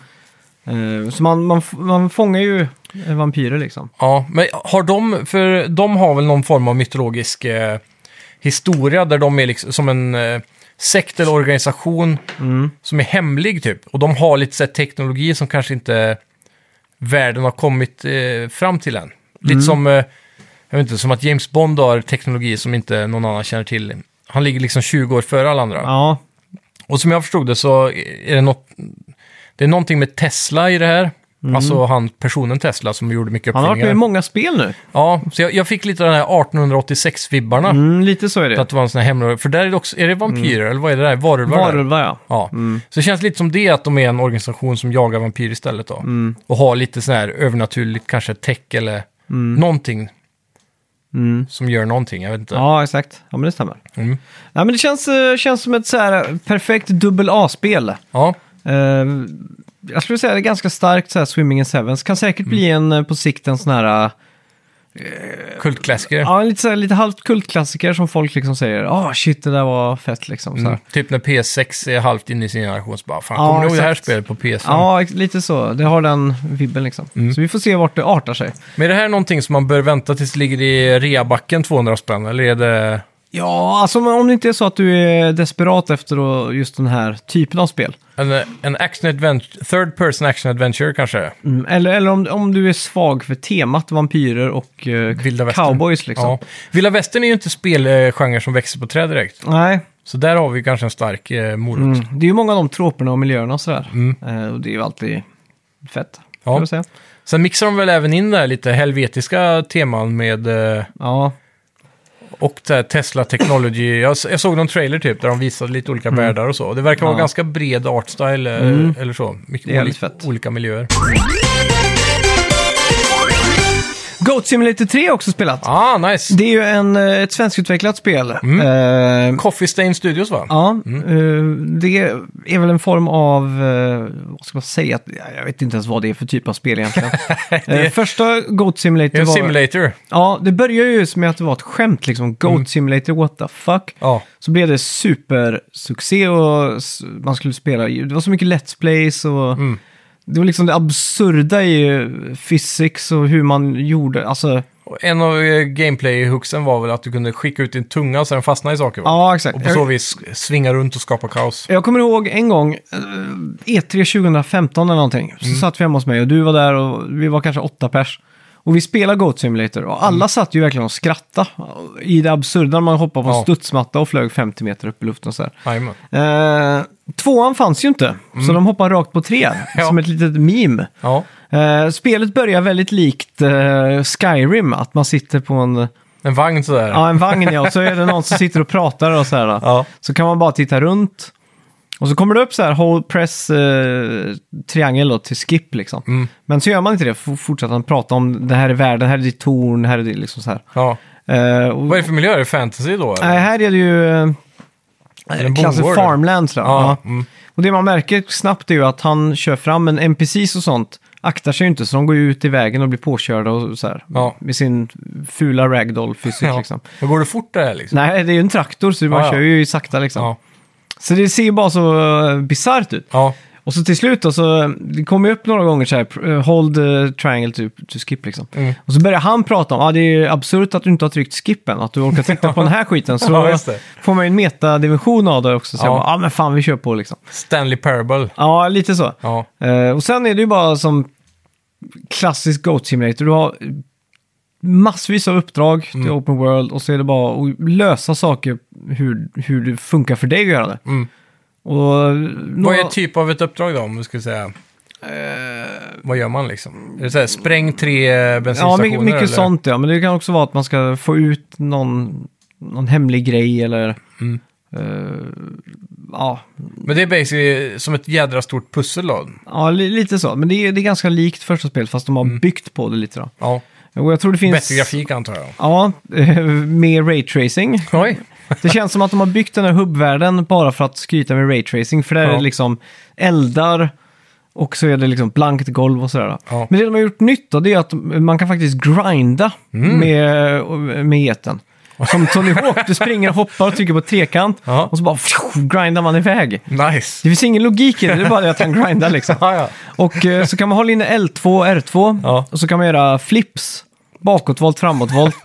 S1: Mm.
S2: Eh, så man, man, f- man fångar ju eh, vampyrer liksom.
S1: Ja, men har de, för de har väl någon form av mytologisk eh, historia där de är liksom som en eh, sekt eller organisation som är hemlig typ. Och de har lite så här, teknologi som kanske inte världen har kommit eh, fram till än. Lite som, eh, jag vet inte, som att James Bond har teknologi som inte någon annan känner till. Han ligger liksom 20 år före alla andra.
S2: Ja,
S1: Och som jag förstod det så är det något, det är någonting med Tesla i det här. Alltså han, personen Tesla som gjorde mycket
S2: Mm. han har varit
S1: uppfinningar.
S2: med i många spel nu.
S1: Ja, så jag, jag fick lite den här 1886-vibbarna.
S2: Mm, lite så är
S1: För
S2: det.
S1: att det var en sån här hemlig... För där är det också... Är det vampyrer eller vad är det där? Varulvar? där?
S2: Varulvar ja.
S1: Ja.
S2: Mm.
S1: Så det känns lite som det, att de är en organisation som jagar vampyrer istället då.
S2: Mm.
S1: Och har lite sån här övernaturligt, kanske tech eller
S2: Mm.
S1: någonting. Som gör någonting, jag vet inte.
S2: Ja, exakt. Ja, men det stämmer.
S1: Mm.
S2: Ja, men det känns, eh, känns som ett så här eh, perfekt dubbel A-spel.
S1: Ja.
S2: Eh, jag skulle säga det är ganska starkt så här Swimming in Sevens. Kan säkert bli
S1: Mm.
S2: en eh, på sikt en sån här, eh,
S1: Kultklassiker.
S2: ja, en lite, så här, lite halvt kultklassiker som folk liksom säger, ah shit det där var fett liksom. Så här.
S1: Mm. Typ när PS6 är halvt inne i sin generation så bara, fan,
S2: Ja,
S1: kommer du ihåg det här
S2: exakt.
S1: spelet på PS5?
S2: Ja, ex- lite så. Det har den vibben liksom.
S1: Mm.
S2: Så vi får se vart det artar sig.
S1: Men är det här någonting som man bör vänta tills det ligger i reabacken 200 spänn? Eller är det...
S2: Ja, alltså men om det inte är så att du är desperat efter då, just den här typen av spel.
S1: En, en action adventure, third person action adventure kanske?
S2: Mm, eller eller om, om du är svag för temat vampyrer och eh,
S1: Mm, Vilda västern.
S2: cowboys liksom.
S1: Ja. Vilda västern är ju inte spelgenre som växer på träd direkt.
S2: Nej, Mm.
S1: Så där har vi kanske en stark eh, morot.
S2: det är ju många av de troperna och miljöerna och sådär. Eh, och det är ju alltid fett.
S1: Mm. Ja.
S2: Ja. Säga.
S1: Sen mixar de väl även in där lite helvetiska teman med... Eh,
S2: ja.
S1: och det här Tesla Technology. Jag, s- jag såg någon trailer typ där de visade lite olika världar och så. Det verkar
S2: Mm. Ja.
S1: vara
S2: Mm.
S1: ganska bred artstyle eh, eller så. Mycket
S2: Det är jävligt
S1: oli-
S2: fett.
S1: olika miljöer.
S2: Goat Simulator 3 har jag också spelat.
S1: Ah, nice!
S2: Det är ju en, eh, ett svenskutvecklat spel.
S1: Mm.
S2: Eh,
S1: Coffee Stain Studios va?
S2: Ja, eh, det är väl en form av, eh, vad ska man säga, jag vet inte ens vad det är för typ av spel
S1: [laughs]
S2: egentligen. Eh, Första Goat Simulator
S1: Det är en
S2: var...
S1: simulator.
S2: Ja, det börjar ju med att det var ett skämt liksom. Goat
S1: Mm.
S2: Simulator, what the fuck?
S1: Ja.
S2: Så blev det supersuccé och s- man skulle spela, det var så mycket Let's Plays och
S1: Mm.
S2: det var liksom det absurda i eh, physics och hur man gjorde, alltså,
S1: Och en av eh, gameplay-hooksen var väl att du kunde skicka ut din tunga så den fastnade i saker va?
S2: ja exakt.
S1: Och på
S2: Jag-
S1: så vis svinga runt och skapa kaos.
S2: Jag kommer ihåg en gång, eh, E3 2015 eller någonting, så
S1: Mm.
S2: satt vi hemma hos mig och du var där och vi var kanske åtta pers. Och vi spelade Goat Simulator och alla
S1: Mm.
S2: satt ju verkligen och skrattade i det absurda. Man hoppade på en
S1: Ja.
S2: studsmatta och flög 50 meter upp i luften och så här.
S1: Jajamän.
S2: Eh, tvåan fanns ju inte, så de hoppade rakt på trean,
S1: Mm. [laughs] Ja.
S2: som ett litet meme.
S1: Ja.
S2: Eh, spelet börjar väldigt likt eh, Skyrim, att man sitter på en...
S1: En vagn sådär.
S2: Ja, en vagn ja. Och så är det någon som sitter och pratar och så här. då.
S1: Ja.
S2: Så kan man bara titta runt. Och så kommer det upp så här hold press eh, triangel då, till skip liksom.
S1: Mm.
S2: Men så gör man inte det. F- fortsätter han prata om det här är världen, här är ditt torn, här är det liksom så här.
S1: ja.
S2: Eh, och,
S1: Vad är det för miljö? Är det fantasy då? eller?
S2: Nej, här är det ju eh,
S1: en
S2: klassen
S1: bondgård, eller?
S2: farmland. Sådär.
S1: Ja,
S2: Ja.
S1: mm.
S2: Och det man märker snabbt är ju att han kör fram, men NPCs och sånt aktar sig ju inte, så de går ju ut i vägen och blir påkörda och så här.
S1: Ja.
S2: Med sin fula ragdoll-fysik
S1: [laughs] Ja.
S2: liksom.
S1: Men går det fort där liksom?
S2: Nej, det är ju en traktor så man
S1: Ja, ja.
S2: kör ju sakta liksom.
S1: Ja.
S2: Så det ser ju bara så uh, bisarrt ut.
S1: ja.
S2: Och så till slut då, så eh, det kom ju upp några gånger så här, pr- eh, hold eh, triangle to, to skip liksom.
S1: Mm.
S2: Och så börjar han prata om, ja ah, det är ju absurt att du inte har tryckt skippen, att du orkar titta på den
S1: [laughs]
S2: här skiten. Så
S1: Ja, just det.
S2: får man ju en metadimension av det också, så
S1: Ja.
S2: jag bara, ja ah, men fan vi kör på liksom.
S1: Stanley Parable.
S2: Ja, lite så.
S1: Ja.
S2: Eh, och sen är det ju bara som klassisk Goat Simulator. Du har massvis av uppdrag
S1: Mm.
S2: till Open World och så är det bara att lösa saker hur, hur det funkar för dig att göra det.
S1: Mm.
S2: Och några,
S1: Vad är typ av ett uppdrag då, om du skulle säga?
S2: Eh,
S1: Vad gör man liksom? Är det så här, spräng tre eh,
S2: Ja,
S1: bensinstationer?
S2: mycket, mycket
S1: eller?
S2: sånt ja. Men det kan också vara att man ska få ut någon, någon hemlig grej eller...
S1: Mm.
S2: eh, ja,
S1: Men det är basically som ett jädra stort pussel då.
S2: ja li, lite så. Men det är, det är ganska likt första spelet fast de har byggt på det lite då.
S1: Ja.
S2: Och jag tror det finns...
S1: Mm. Bättre grafik antar jag.
S2: Ja, [laughs] eh, med raytracing.
S1: Oj.
S2: Det känns som att de har byggt den här hubbvärlden bara för att skryta med raytracing. För där
S1: Ja.
S2: är det liksom eldar och så är det liksom blankt golv och sådär.
S1: Ja.
S2: Men det de har gjort nytt då, det är att man kan faktiskt grinda
S1: Mm.
S2: med, med geten. Som Tony Hawk, du springer och hoppar och trycker på trekant
S1: Ja.
S2: och så bara fju, grindar man iväg.
S1: Nice.
S2: Det finns ingen logik i det, det är bara det att han grindar liksom.
S1: Ja, ja.
S2: Och eh, så kan man hålla inne L2 och R2
S1: Ja.
S2: och så kan man göra flips, bakåtvolt,
S1: [laughs]
S2: framåtvolt.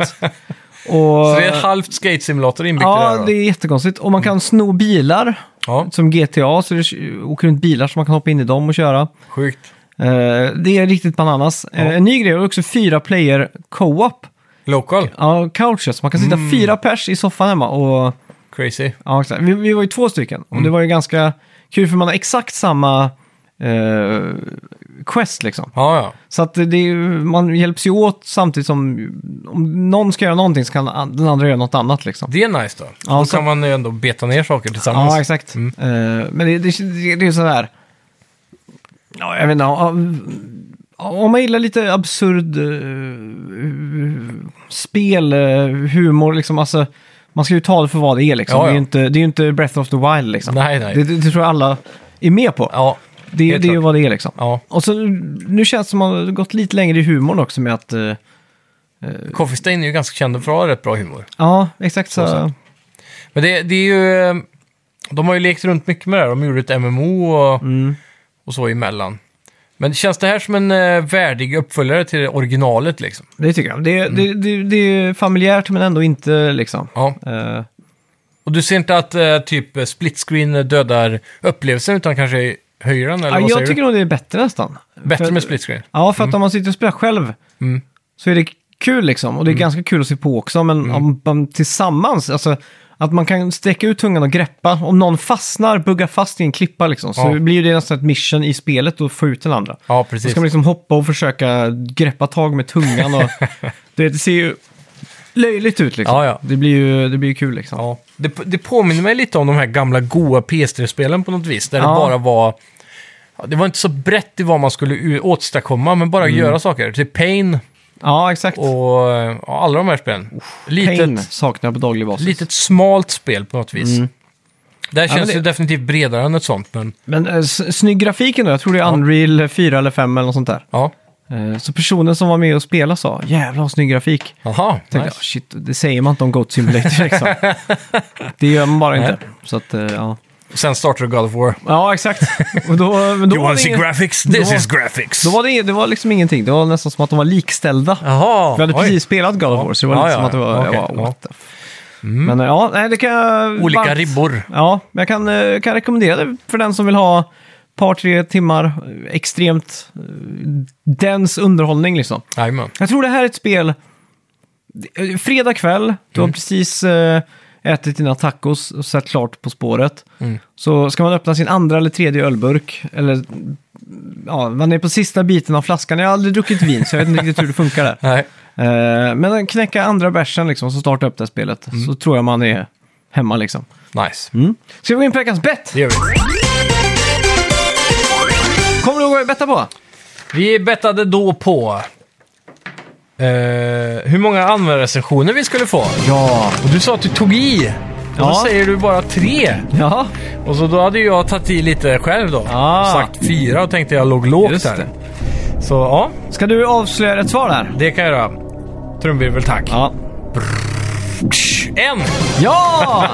S2: och...
S1: Så det är ett halvt skate-simulator inbyggt i det
S2: Ja,
S1: här
S2: det
S1: då?
S2: är jättekonstigt. Och man kan sno bilar,
S1: Ja,
S2: som GTA, så det åker runt bilar så man kan hoppa in i dem och köra.
S1: sjukt.
S2: Eh, det är riktigt bananas. Eh, en ny grej är också fyra player co-op.
S1: Local.
S2: Ja, couches. Man kan sitta fyra pers i soffan hemma och...
S1: Crazy.
S2: Ja, exakt. Vi, vi var ju två stycken. Och det var ju ganska kul för man har exakt samma eh, quest liksom.
S1: Ja, ja.
S2: Så att det det är, ju- man hjälps ju åt samtidigt som om någon ska göra någonting så kan an- den andra göra något annat liksom.
S1: Det är nice då.
S2: Ja,
S1: då
S2: så-
S1: kan man ju ändå beta ner saker tillsammans.
S2: Ja, exakt.
S1: Mm.
S2: Eh, men det, det, det, det är ju sådär... Ja, jag vet inte. Om, om man gillar lite absurd eh, spel, eh, humor, liksom. Alltså, man ska ju ta det för vad det är, liksom.
S1: Ja, ja.
S2: Det, är ju inte, det är ju inte Breath of the Wild, liksom.
S1: Nej, nej.
S2: Det, det, det tror jag alla är med på.
S1: Ja,
S2: det
S1: helt
S2: det är ju
S1: klart.
S2: vad det är, liksom.
S1: ja.
S2: Och så nu känns det som att man har gått lite längre i humorn också med att... eh,
S1: Coffee Stain är ju ganska kända för att ha rätt bra humor.
S2: ja, exakt så.
S1: Men det, det är ju... eh, De har ju lekt runt mycket med det här. De gjorde ett MMO och,
S2: Mm.
S1: och så emellan. Men känns det här som en eh, värdig uppföljare till originalet liksom?
S2: Det tycker jag. Det, det, det, det är familjärt men ändå inte, liksom.
S1: Ja.
S2: Eh,
S1: Och du ser inte att eh, typ eh, split screen dödar upplevelsen utan kanske höjer den? Eller
S2: Ja,
S1: vad
S2: jag
S1: säger
S2: tycker
S1: du?
S2: nog det är bättre nästan.
S1: Bättre
S2: för,
S1: med split screen?
S2: Ja, för att om man sitter och spelar själv
S1: Mm.
S2: så är det kul liksom. Och det är ganska kul att se på också, men
S1: Mm.
S2: om man tillsammans, alltså att man kan sträcka ut tungan och greppa. Om någon fastnar, buggar fast i en klippa liksom, så
S1: Ja.
S2: blir ju det nästan ett mission i spelet att få ut den andra.
S1: Ja,
S2: Då
S1: precis.
S2: ska man liksom hoppa och försöka greppa tag med tungan
S1: [laughs]
S2: och det, det ser ju löjligt ut liksom.
S1: Ja, ja.
S2: Det blir ju det blir ju kul liksom.
S1: Ja. Det, det påminner mig lite om de här gamla goa PS3-spelen på något vis. Där det
S2: Ja.
S1: bara var... ja, Det var inte så brett i vad man skulle u- åstadkomma, men
S2: Mm.
S1: bara göra saker. Typ Pain
S2: Ja, exakt.
S1: och eh, ja, alla de här spelen.
S2: Pain
S1: Litet,
S2: saknar jag på daglig basis.
S1: litet smalt spel på något vis. Det här
S2: Mm. Ja,
S1: känns
S2: men det-
S1: ju definitivt bredare än ett sånt, men
S2: Men äh, snygg grafik ändå. Jag tror det är Unreal 4 eller 5 eller något sånt där.
S1: ja.
S2: Eh, så personen som var med och spelade sa jävlar vad snygg grafik.
S1: Jaha,
S2: Tänkte,
S1: nice.
S2: "Ah, shit, det säger man inte om Goat
S1: [laughs]
S2: Simulator liksom. det gör man bara inte. Så att, eh, ja.
S1: Sen startade God of War.
S2: ja, exakt. Och då, men då, var
S1: You wanna
S2: det
S1: see
S2: ingen,
S1: graphics? This
S2: Då-
S1: is graphics!
S2: då var det, ing- det var liksom ingenting. Det var nästan som att de var likställda.
S1: Jaha,
S2: Vi hade
S1: oj.
S2: precis spelat God of War, så det var
S1: Ja,
S2: lite
S1: ja,
S2: som att det var,
S1: okej,
S2: jag bara,
S1: ja. Mm.
S2: what the f-" Men eh, ja, nej, det kan jag...
S1: Olika
S2: varmt-
S1: ribbor.
S2: Ja, men jag kan, eh, kan rekommendera det för den som vill ha ett par, tre timmar eh, extremt eh, dens underhållning liksom.
S1: Jajamän.
S2: Jag tror det här är ett spel... eh, Fredag kväll, du har precis eh, ätit dina tacos och sett klart På spåret. Så ska man öppna sin andra eller tredje ölburk, eller ja, man är på sista biten av flaskan. Jag har aldrig druckit vin, så jag vet inte riktigt hur det funkar där.
S1: Nej.
S2: Eh, men knäcka andra bärsen liksom, så starta upp det här spelet. Så tror jag man är hemma liksom.
S1: Nice.
S2: Mm. Ska vi gå in på veckans bett?
S1: Det gör vi.
S2: Kommer du ihåg vad vi bettade på?
S1: Vi bettade då på eh, hur många användarrecensioner vi skulle få.
S2: Ja.
S1: Och du sa att du tog i. Och då
S2: Ja.
S1: säger du bara tre.
S2: Ja,
S1: Och så då hade jag tagit i lite själv då.
S2: Ah.
S1: Sagt fyra och tänkte jag låg lågt
S2: Just
S1: där.
S2: det.
S1: Så ja,
S2: Ska du avslöja ett svar där?
S1: det kan jag göra. Trumvirvel tack.
S2: Ja!
S1: En!
S2: Ja!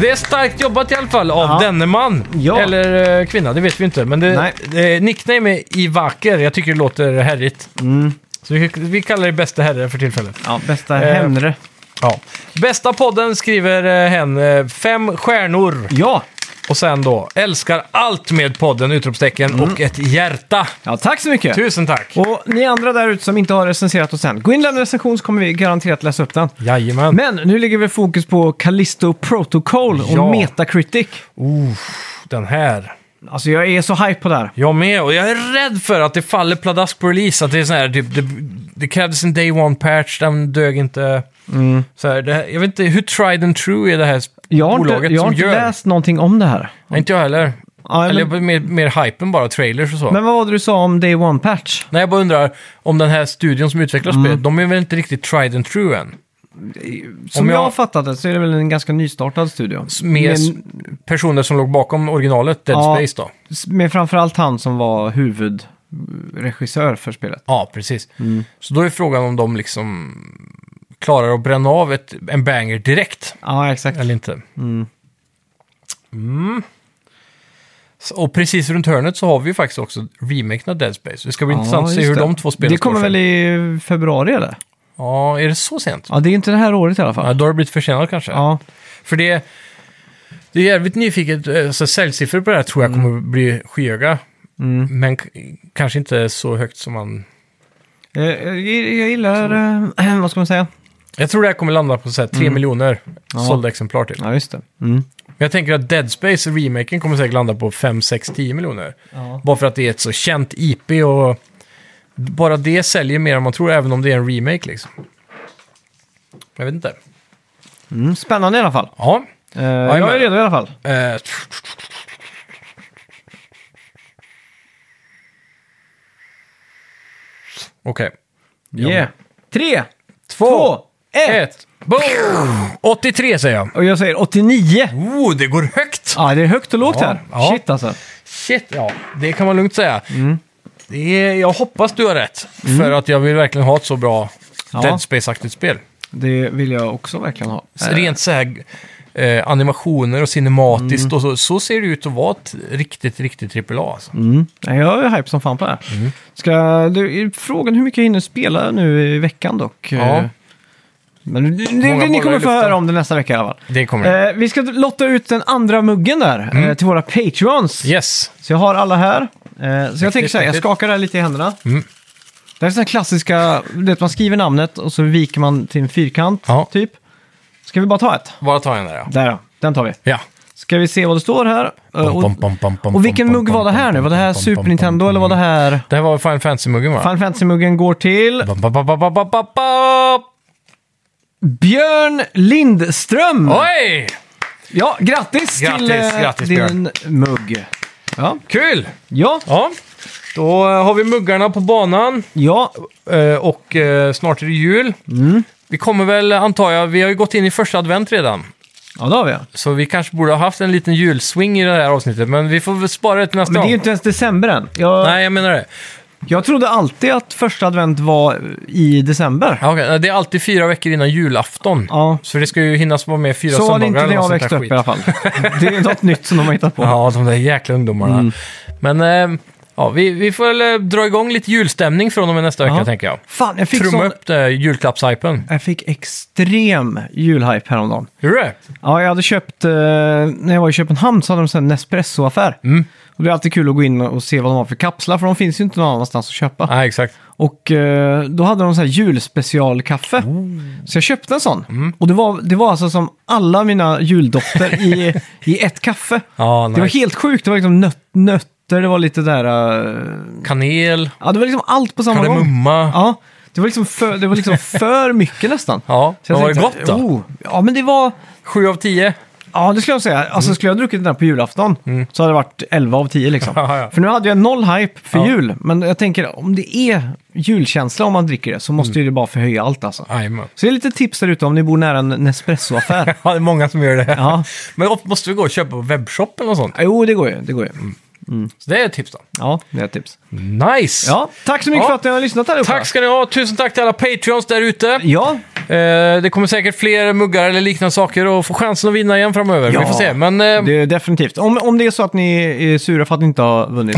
S1: Det är starkt jobbat i alla fall av
S2: Ja.
S1: denne man.
S2: Ja.
S1: Eller eh, kvinna, det vet vi inte. Men det,
S2: Nej.
S1: det, nickname är Ivaker. Jag tycker det låter härligt.
S2: Mm.
S1: Så vi, vi kallar det bästa herre för tillfället.
S2: [laughs] ja bästa
S1: Eh,
S2: Henre.
S1: Ja. Bästa podden skriver eh, hen eh, fem stjärnor
S2: Ja!
S1: och sen då älskar allt med podden! Utropstecken
S2: Mm.
S1: och ett hjärta.
S2: Ja, tack så mycket!
S1: Tusen tack!
S2: Och ni andra där ute som inte har recenserat oss än, gå in och lämna recension så kommer vi garanterat läsa upp den.
S1: Jajamän.
S2: Men nu ligger vi fokus på Callisto Protocol och
S1: Ja.
S2: Metacritic.
S1: Den här.
S2: Alltså jag är så hype på det här.
S1: Jag med, och jag är rädd för att det faller pladask på release. Att det är sån här, typ, det, det krävdes en day one patch, den dög inte.
S2: Mm.
S1: Så här, det, här- jag vet inte, hur tried and true är det här sp-
S2: Jag har
S1: bolaget
S2: inte, jag har
S1: som
S2: inte
S1: gör?
S2: läst någonting om det här.
S1: Nej, inte jag heller.
S2: Ja,
S1: Eller jag
S2: men,
S1: var mer, mer hypen bara, trailers och så.
S2: men vad var det du sa om Day One Patch?
S1: Nej, jag bara undrar om den här studion som utvecklar
S2: Mm.
S1: spelet, de är väl inte riktigt tried and true än?
S2: Som jag...
S1: jag-
S2: har fattat det så är det väl en ganska nystartad studio.
S1: Med
S2: Men-
S1: s- personer som låg bakom originalet, Dead
S2: Ja.
S1: Space då.
S2: Med framförallt han som var huvudregissör för spelet.
S1: Ja, precis.
S2: Mm.
S1: Så då är frågan om de liksom klarar att bränna av ett, en banger direkt.
S2: Ja, exakt.
S1: Eller inte. Mm. S- Och precis runt hörnet så har vi ju faktiskt också remaken av Dead Space. Det ska bli
S2: Ja,
S1: intressant att se
S2: just
S1: hur
S2: det.
S1: de två spelen
S2: Det
S1: står
S2: kommer
S1: sig.
S2: väl i februari eller?
S1: Ja, är det så sent?
S2: Ja, det är inte det här året i alla
S1: Ja,
S2: fall.
S1: då har det blivit försenat kanske.
S2: Ja,
S1: För det, det är jävligt nyfiket. eh, Så säljsiffror på det här tror jag
S2: Mm.
S1: kommer bli skyhöga. Men k- kanske inte så högt som man...
S2: Eh, Jag, jag gillar, eh, [clears throat] vad ska man säga?
S1: Jag tror det här kommer landa på så här 3
S2: Mm.
S1: miljoner sålda exemplar typ.
S2: Ja, just det. Mm.
S1: Men jag tänker att Dead Space remaken kommer säkert landa på 5, 6, 10 miljoner.
S2: Ja.
S1: Bara för att det är ett så känt IP och bara det säljer mer än man tror, även om det är en remake liksom. Jag vet inte.
S2: Mm, spännande i alla fall.
S1: Ja.
S2: Eh, jag är
S1: men-
S2: redo i alla fall.
S1: Eh, Okej.
S2: Yeah. Tre,
S1: Två,
S2: två, ett.
S1: ett, boom! 83 säger jag.
S2: Och jag säger 89.
S1: Oh, det går högt!
S2: Ja, det är högt och lågt
S1: Ja,
S2: här.
S1: ja.
S2: Shit alltså.
S1: Shit, ja. Det kan man lugnt säga. Det är, jag hoppas du har rätt, för att jag vill verkligen ha ett så bra
S2: Ja.
S1: Dead Space-aktigt spel.
S2: Det vill jag också verkligen ha.
S1: Så Rent så här eh, animationer och cinematiskt
S2: Mm.
S1: och så, så ser det ut att vara ett riktigt, riktigt AAA. Alltså.
S2: Mm. Nej, Jag är hype som fan på det här.
S1: Mm.
S2: Ska, du, är frågan hur mycket jag hinner spela nu i veckan dock.
S1: Ja.
S2: Eh, Men det,
S1: Många
S2: det, ni
S1: bollar i
S2: kommer få
S1: luften. Mm.
S2: höra om det nästa vecka i alla fall.
S1: Det kommer det.
S2: Eh, vi ska lotta ut den andra muggen där
S1: Mm.
S2: eh, till våra Patreons.
S1: Yes,
S2: Så jag har alla här. Eh, så jag tänker så här, jag
S1: häftigt.
S2: skakar det här lite i händerna.
S1: Mm.
S2: Det här är sådana klassiska, du vet man skriver namnet och så viker man till en fyrkant,
S1: Ja.
S2: typ. Ska vi bara ta ett?
S1: bara ta en där ja.
S2: Där ja, den tar vi.
S1: ja.
S2: Ska vi se vad det står här? Eh, och, och vilken mugg var det här nu? Var det här Super Nintendo eller var det här...
S1: Det här var Final Fantasy-muggen va?
S2: Final Fantasy-muggen går till
S1: Ba, ba, ba, ba, ba, ba, ba, ba.
S2: Björn Lindström!
S1: Oj!
S2: Ja, grattis,
S1: Grattis,
S2: till eh,
S1: grattis,
S2: din mugg. Ja,
S1: Kul!
S2: ja,
S1: Ja, då eh, har vi muggarna på banan
S2: ja,
S1: eh, och eh, snart är det jul.
S2: Mm.
S1: Vi kommer väl, antar jag, vi har ju gått in i första advent redan.
S2: ja det har vi. ja.
S1: Så vi kanske borde ha haft en liten julswing i det här avsnittet, men vi får väl spara det till nästa
S2: Men det är
S1: gång.
S2: ju inte ens december än. Jag,
S1: Nej, jag menar det.
S2: Jag trodde alltid att första advent var i december.
S1: Ja, okej. Det är alltid fyra veckor innan julafton.
S2: Ja.
S1: Så det ska ju hinnas vara med fyra
S2: Så var det
S1: söndagar
S2: inte när
S1: eller
S2: jag
S1: något sånt
S2: växte
S1: där
S2: upp
S1: skit.
S2: i alla fall. Det är något nytt som de har hittat på.
S1: Ja, de där jäkla ungdomarna.
S2: Mm.
S1: Men eh, ja, vi, vi får väl eh, dra igång lite julstämning från och med nästa vecka,
S2: Ja.
S1: tänker jag.
S2: Fan, jag fick,
S1: Trumma
S2: sån,
S1: upp det, julklappshypen.
S2: jag fick extrem julhype häromdagen.
S1: Hur är det?
S2: Ja, jag hade köpt, eh, när jag var i Köpenhamn så hade de sån här Nespresso-affär.
S1: Mm.
S2: Och det är alltid kul att gå in och se vad de har för kapslar, för de finns ju inte någon annanstans att köpa.
S1: Nej, exakt.
S2: Och eh, då hade de så här julspecialkaffe.
S1: Oh.
S2: Så jag köpte en sån.
S1: Mm.
S2: Och det var, det var alltså som
S1: [laughs]
S2: alla mina juldofter i, i ett kaffe.
S1: Ja,
S2: Det var
S1: nice.
S2: helt sjukt. Det var liksom nöt, nöt, nötter, det var lite där... eh,
S1: Kanel,
S2: ja, det var liksom allt på samma gång.
S1: kardemumma.
S2: Ja, det var liksom för, det var
S1: [laughs]
S2: liksom för mycket nästan.
S1: Ja,
S2: Så jag
S1: men var det
S2: tänkte
S1: gott
S2: så här,
S1: då?
S2: Oh, ja, men det var...
S1: Sju av tio.
S2: Ja, det skulle jag säga. Alltså
S1: Mm.
S2: skulle jag ha druckit den här på julafton så hade det varit 11 av 10 liksom.
S1: [laughs] Ja, ja.
S2: För nu hade jag noll hype för
S1: Ja.
S2: jul. Men jag tänker, om det är julkänsla om man dricker det så måste
S1: Mm.
S2: ju det bara förhöja allt alltså.
S1: Jajamän.
S2: Så det är lite tips där ute om ni bor nära en
S1: [laughs]
S2: Nespresso-affär.
S1: Ja, det är många som gör det.
S2: Ja.
S1: Men ofta måste vi gå och köpa på webbshoppen och sånt.
S2: jo, det går ju. Det går ju.
S1: Mm. Så det är ett tips då.
S2: Ja, det är ett tips.
S1: Nice!
S2: Ja, tack så mycket
S1: Ja.
S2: för att ni har lyssnat allihopa.
S1: Tack ska ni ha! Tusen tack till alla Patreons där ute.
S2: Ja,
S1: Eh, det kommer säkert fler muggar eller liknande saker och få chansen att vinna igen framöver.
S2: Ja.
S1: Vi får se. Men eh,
S2: det är definitivt. Om, om det är så att ni är sura för att ni inte har
S1: [laughs]
S2: vunnit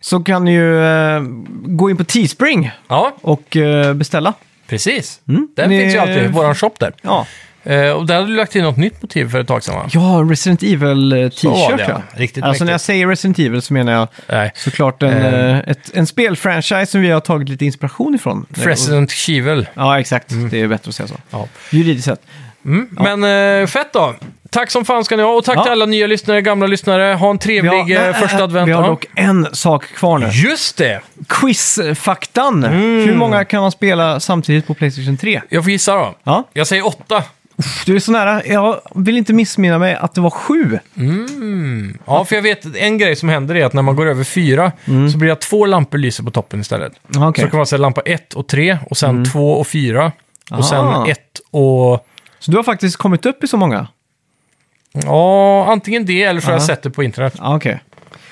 S2: så kan ni ju eh, gå in på Teespring
S1: ja,
S2: och eh, beställa.
S1: precis.
S2: Mm.
S1: Den
S2: Ni-
S1: finns ju alltid, våran shop där.
S2: Ja.
S1: Eh, och där hade du lagt in något nytt motiv för ett tag sedan va?
S2: Ja, Resident Evil eh,
S1: var
S2: t-shirt
S1: det,
S2: ja.
S1: ja. Riktigt
S2: alltså när jag
S1: mäktigt.
S2: säger Resident Evil så menar jag
S1: Nej.
S2: såklart en,
S1: Eh.
S2: eh, ett, en spelfranchise som vi har tagit lite inspiration ifrån.
S1: President Kivel.
S2: Ja, exakt.
S1: Mm.
S2: Det är bättre att säga så.
S1: Ja.
S2: Juridiskt sett.
S1: Mm. Men eh, fett då! Tack som fan ska ni ha och tack
S2: Ja.
S1: till alla nya lyssnare, gamla lyssnare. Ha en
S2: Vi
S1: trevlig
S2: har-
S1: eh,
S2: nej,
S1: första
S2: äh,
S1: advent. Mm.
S2: Vi har
S1: va?
S2: dock en sak kvar nu.
S1: Just det!
S2: Quizfaktan.
S1: Mm.
S2: Hur många kan man spela samtidigt på Playstation 3?
S1: Jag får gissa då.
S2: Ja,
S1: Jag säger åtta.
S2: du är så nära. Jag vill inte missminna mig att det var sju.
S1: Mm. Ja, för jag vet en grej som händer är att när man går över fyra så blir det att två lampor lyser på toppen istället.
S2: Ja, Mm. okej. Mm.
S1: Så kan man säga lampa ett och tre och sen två och fyra och
S2: Ah.
S1: sen ett och...
S2: Så du har faktiskt kommit upp i så många?
S1: Ja, antingen det eller så har jag
S2: Ja.
S1: sett det på internet.
S2: Ja, okej.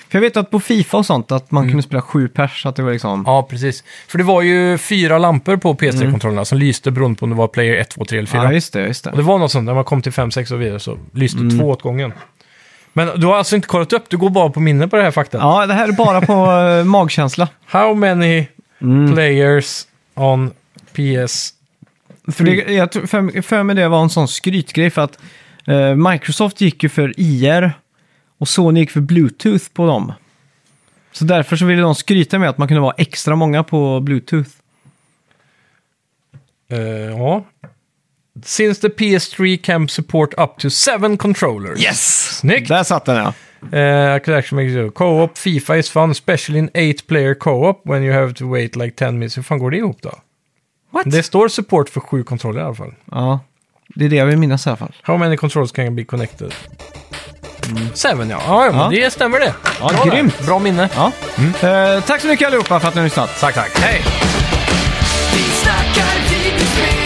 S2: För jag vet att på Fifa och sånt att man
S1: Mm.
S2: kunde spela sju pers, så att det var liksom...
S1: Ja, precis. För det var ju fyra lampor på PS3-kontrollerna som lyste beroende på om det var player 1, 2, 3 eller 4.
S2: Mm. Ja, just det. Mm. Just
S1: Och det
S2: det.
S1: var något sånt, när man kom till 5, 6 och vidare så lyste två åt gången. Men du har alltså inte kollat upp, du går bara på minne på det här faktan.
S2: Ja, det här är bara [laughs] på eh, magkänsla.
S1: How many
S2: Mm.
S1: players on PS...
S2: För, det, jag tror- för, för mig det var en sån skrytgrej för att eh, Microsoft gick ju för IR och Sony gick för Bluetooth på dem. Så därför så ville de skryta med att man kunde vara extra många på Bluetooth.
S1: Eh, ja. Since the PS3 can support up to seven controllers.
S2: Yes!
S1: Snyggt!
S2: Där satt den ja.
S1: Uh, I could actually make it Co-op, FIFA is fun, especially in eight player co-op when you have to wait like 10 minutes. Hur fan går det ihop då?
S2: What?
S1: Det står support för sju kontroller i alla fall.
S2: Ja, det är det jag vill minnas i alla fall.
S1: How many controls can be connected? Seven ja, ja, ja, men
S2: Mm. Ja.
S1: det stämmer det.
S2: Ja,
S1: Bra där.
S2: grymt.
S1: Bra minne.
S2: Ja. Eh, Mm. tack så mycket allihopa för att ni har lyssnat.
S1: Tack, tack. Hej!
S3: Vi snackar videospel,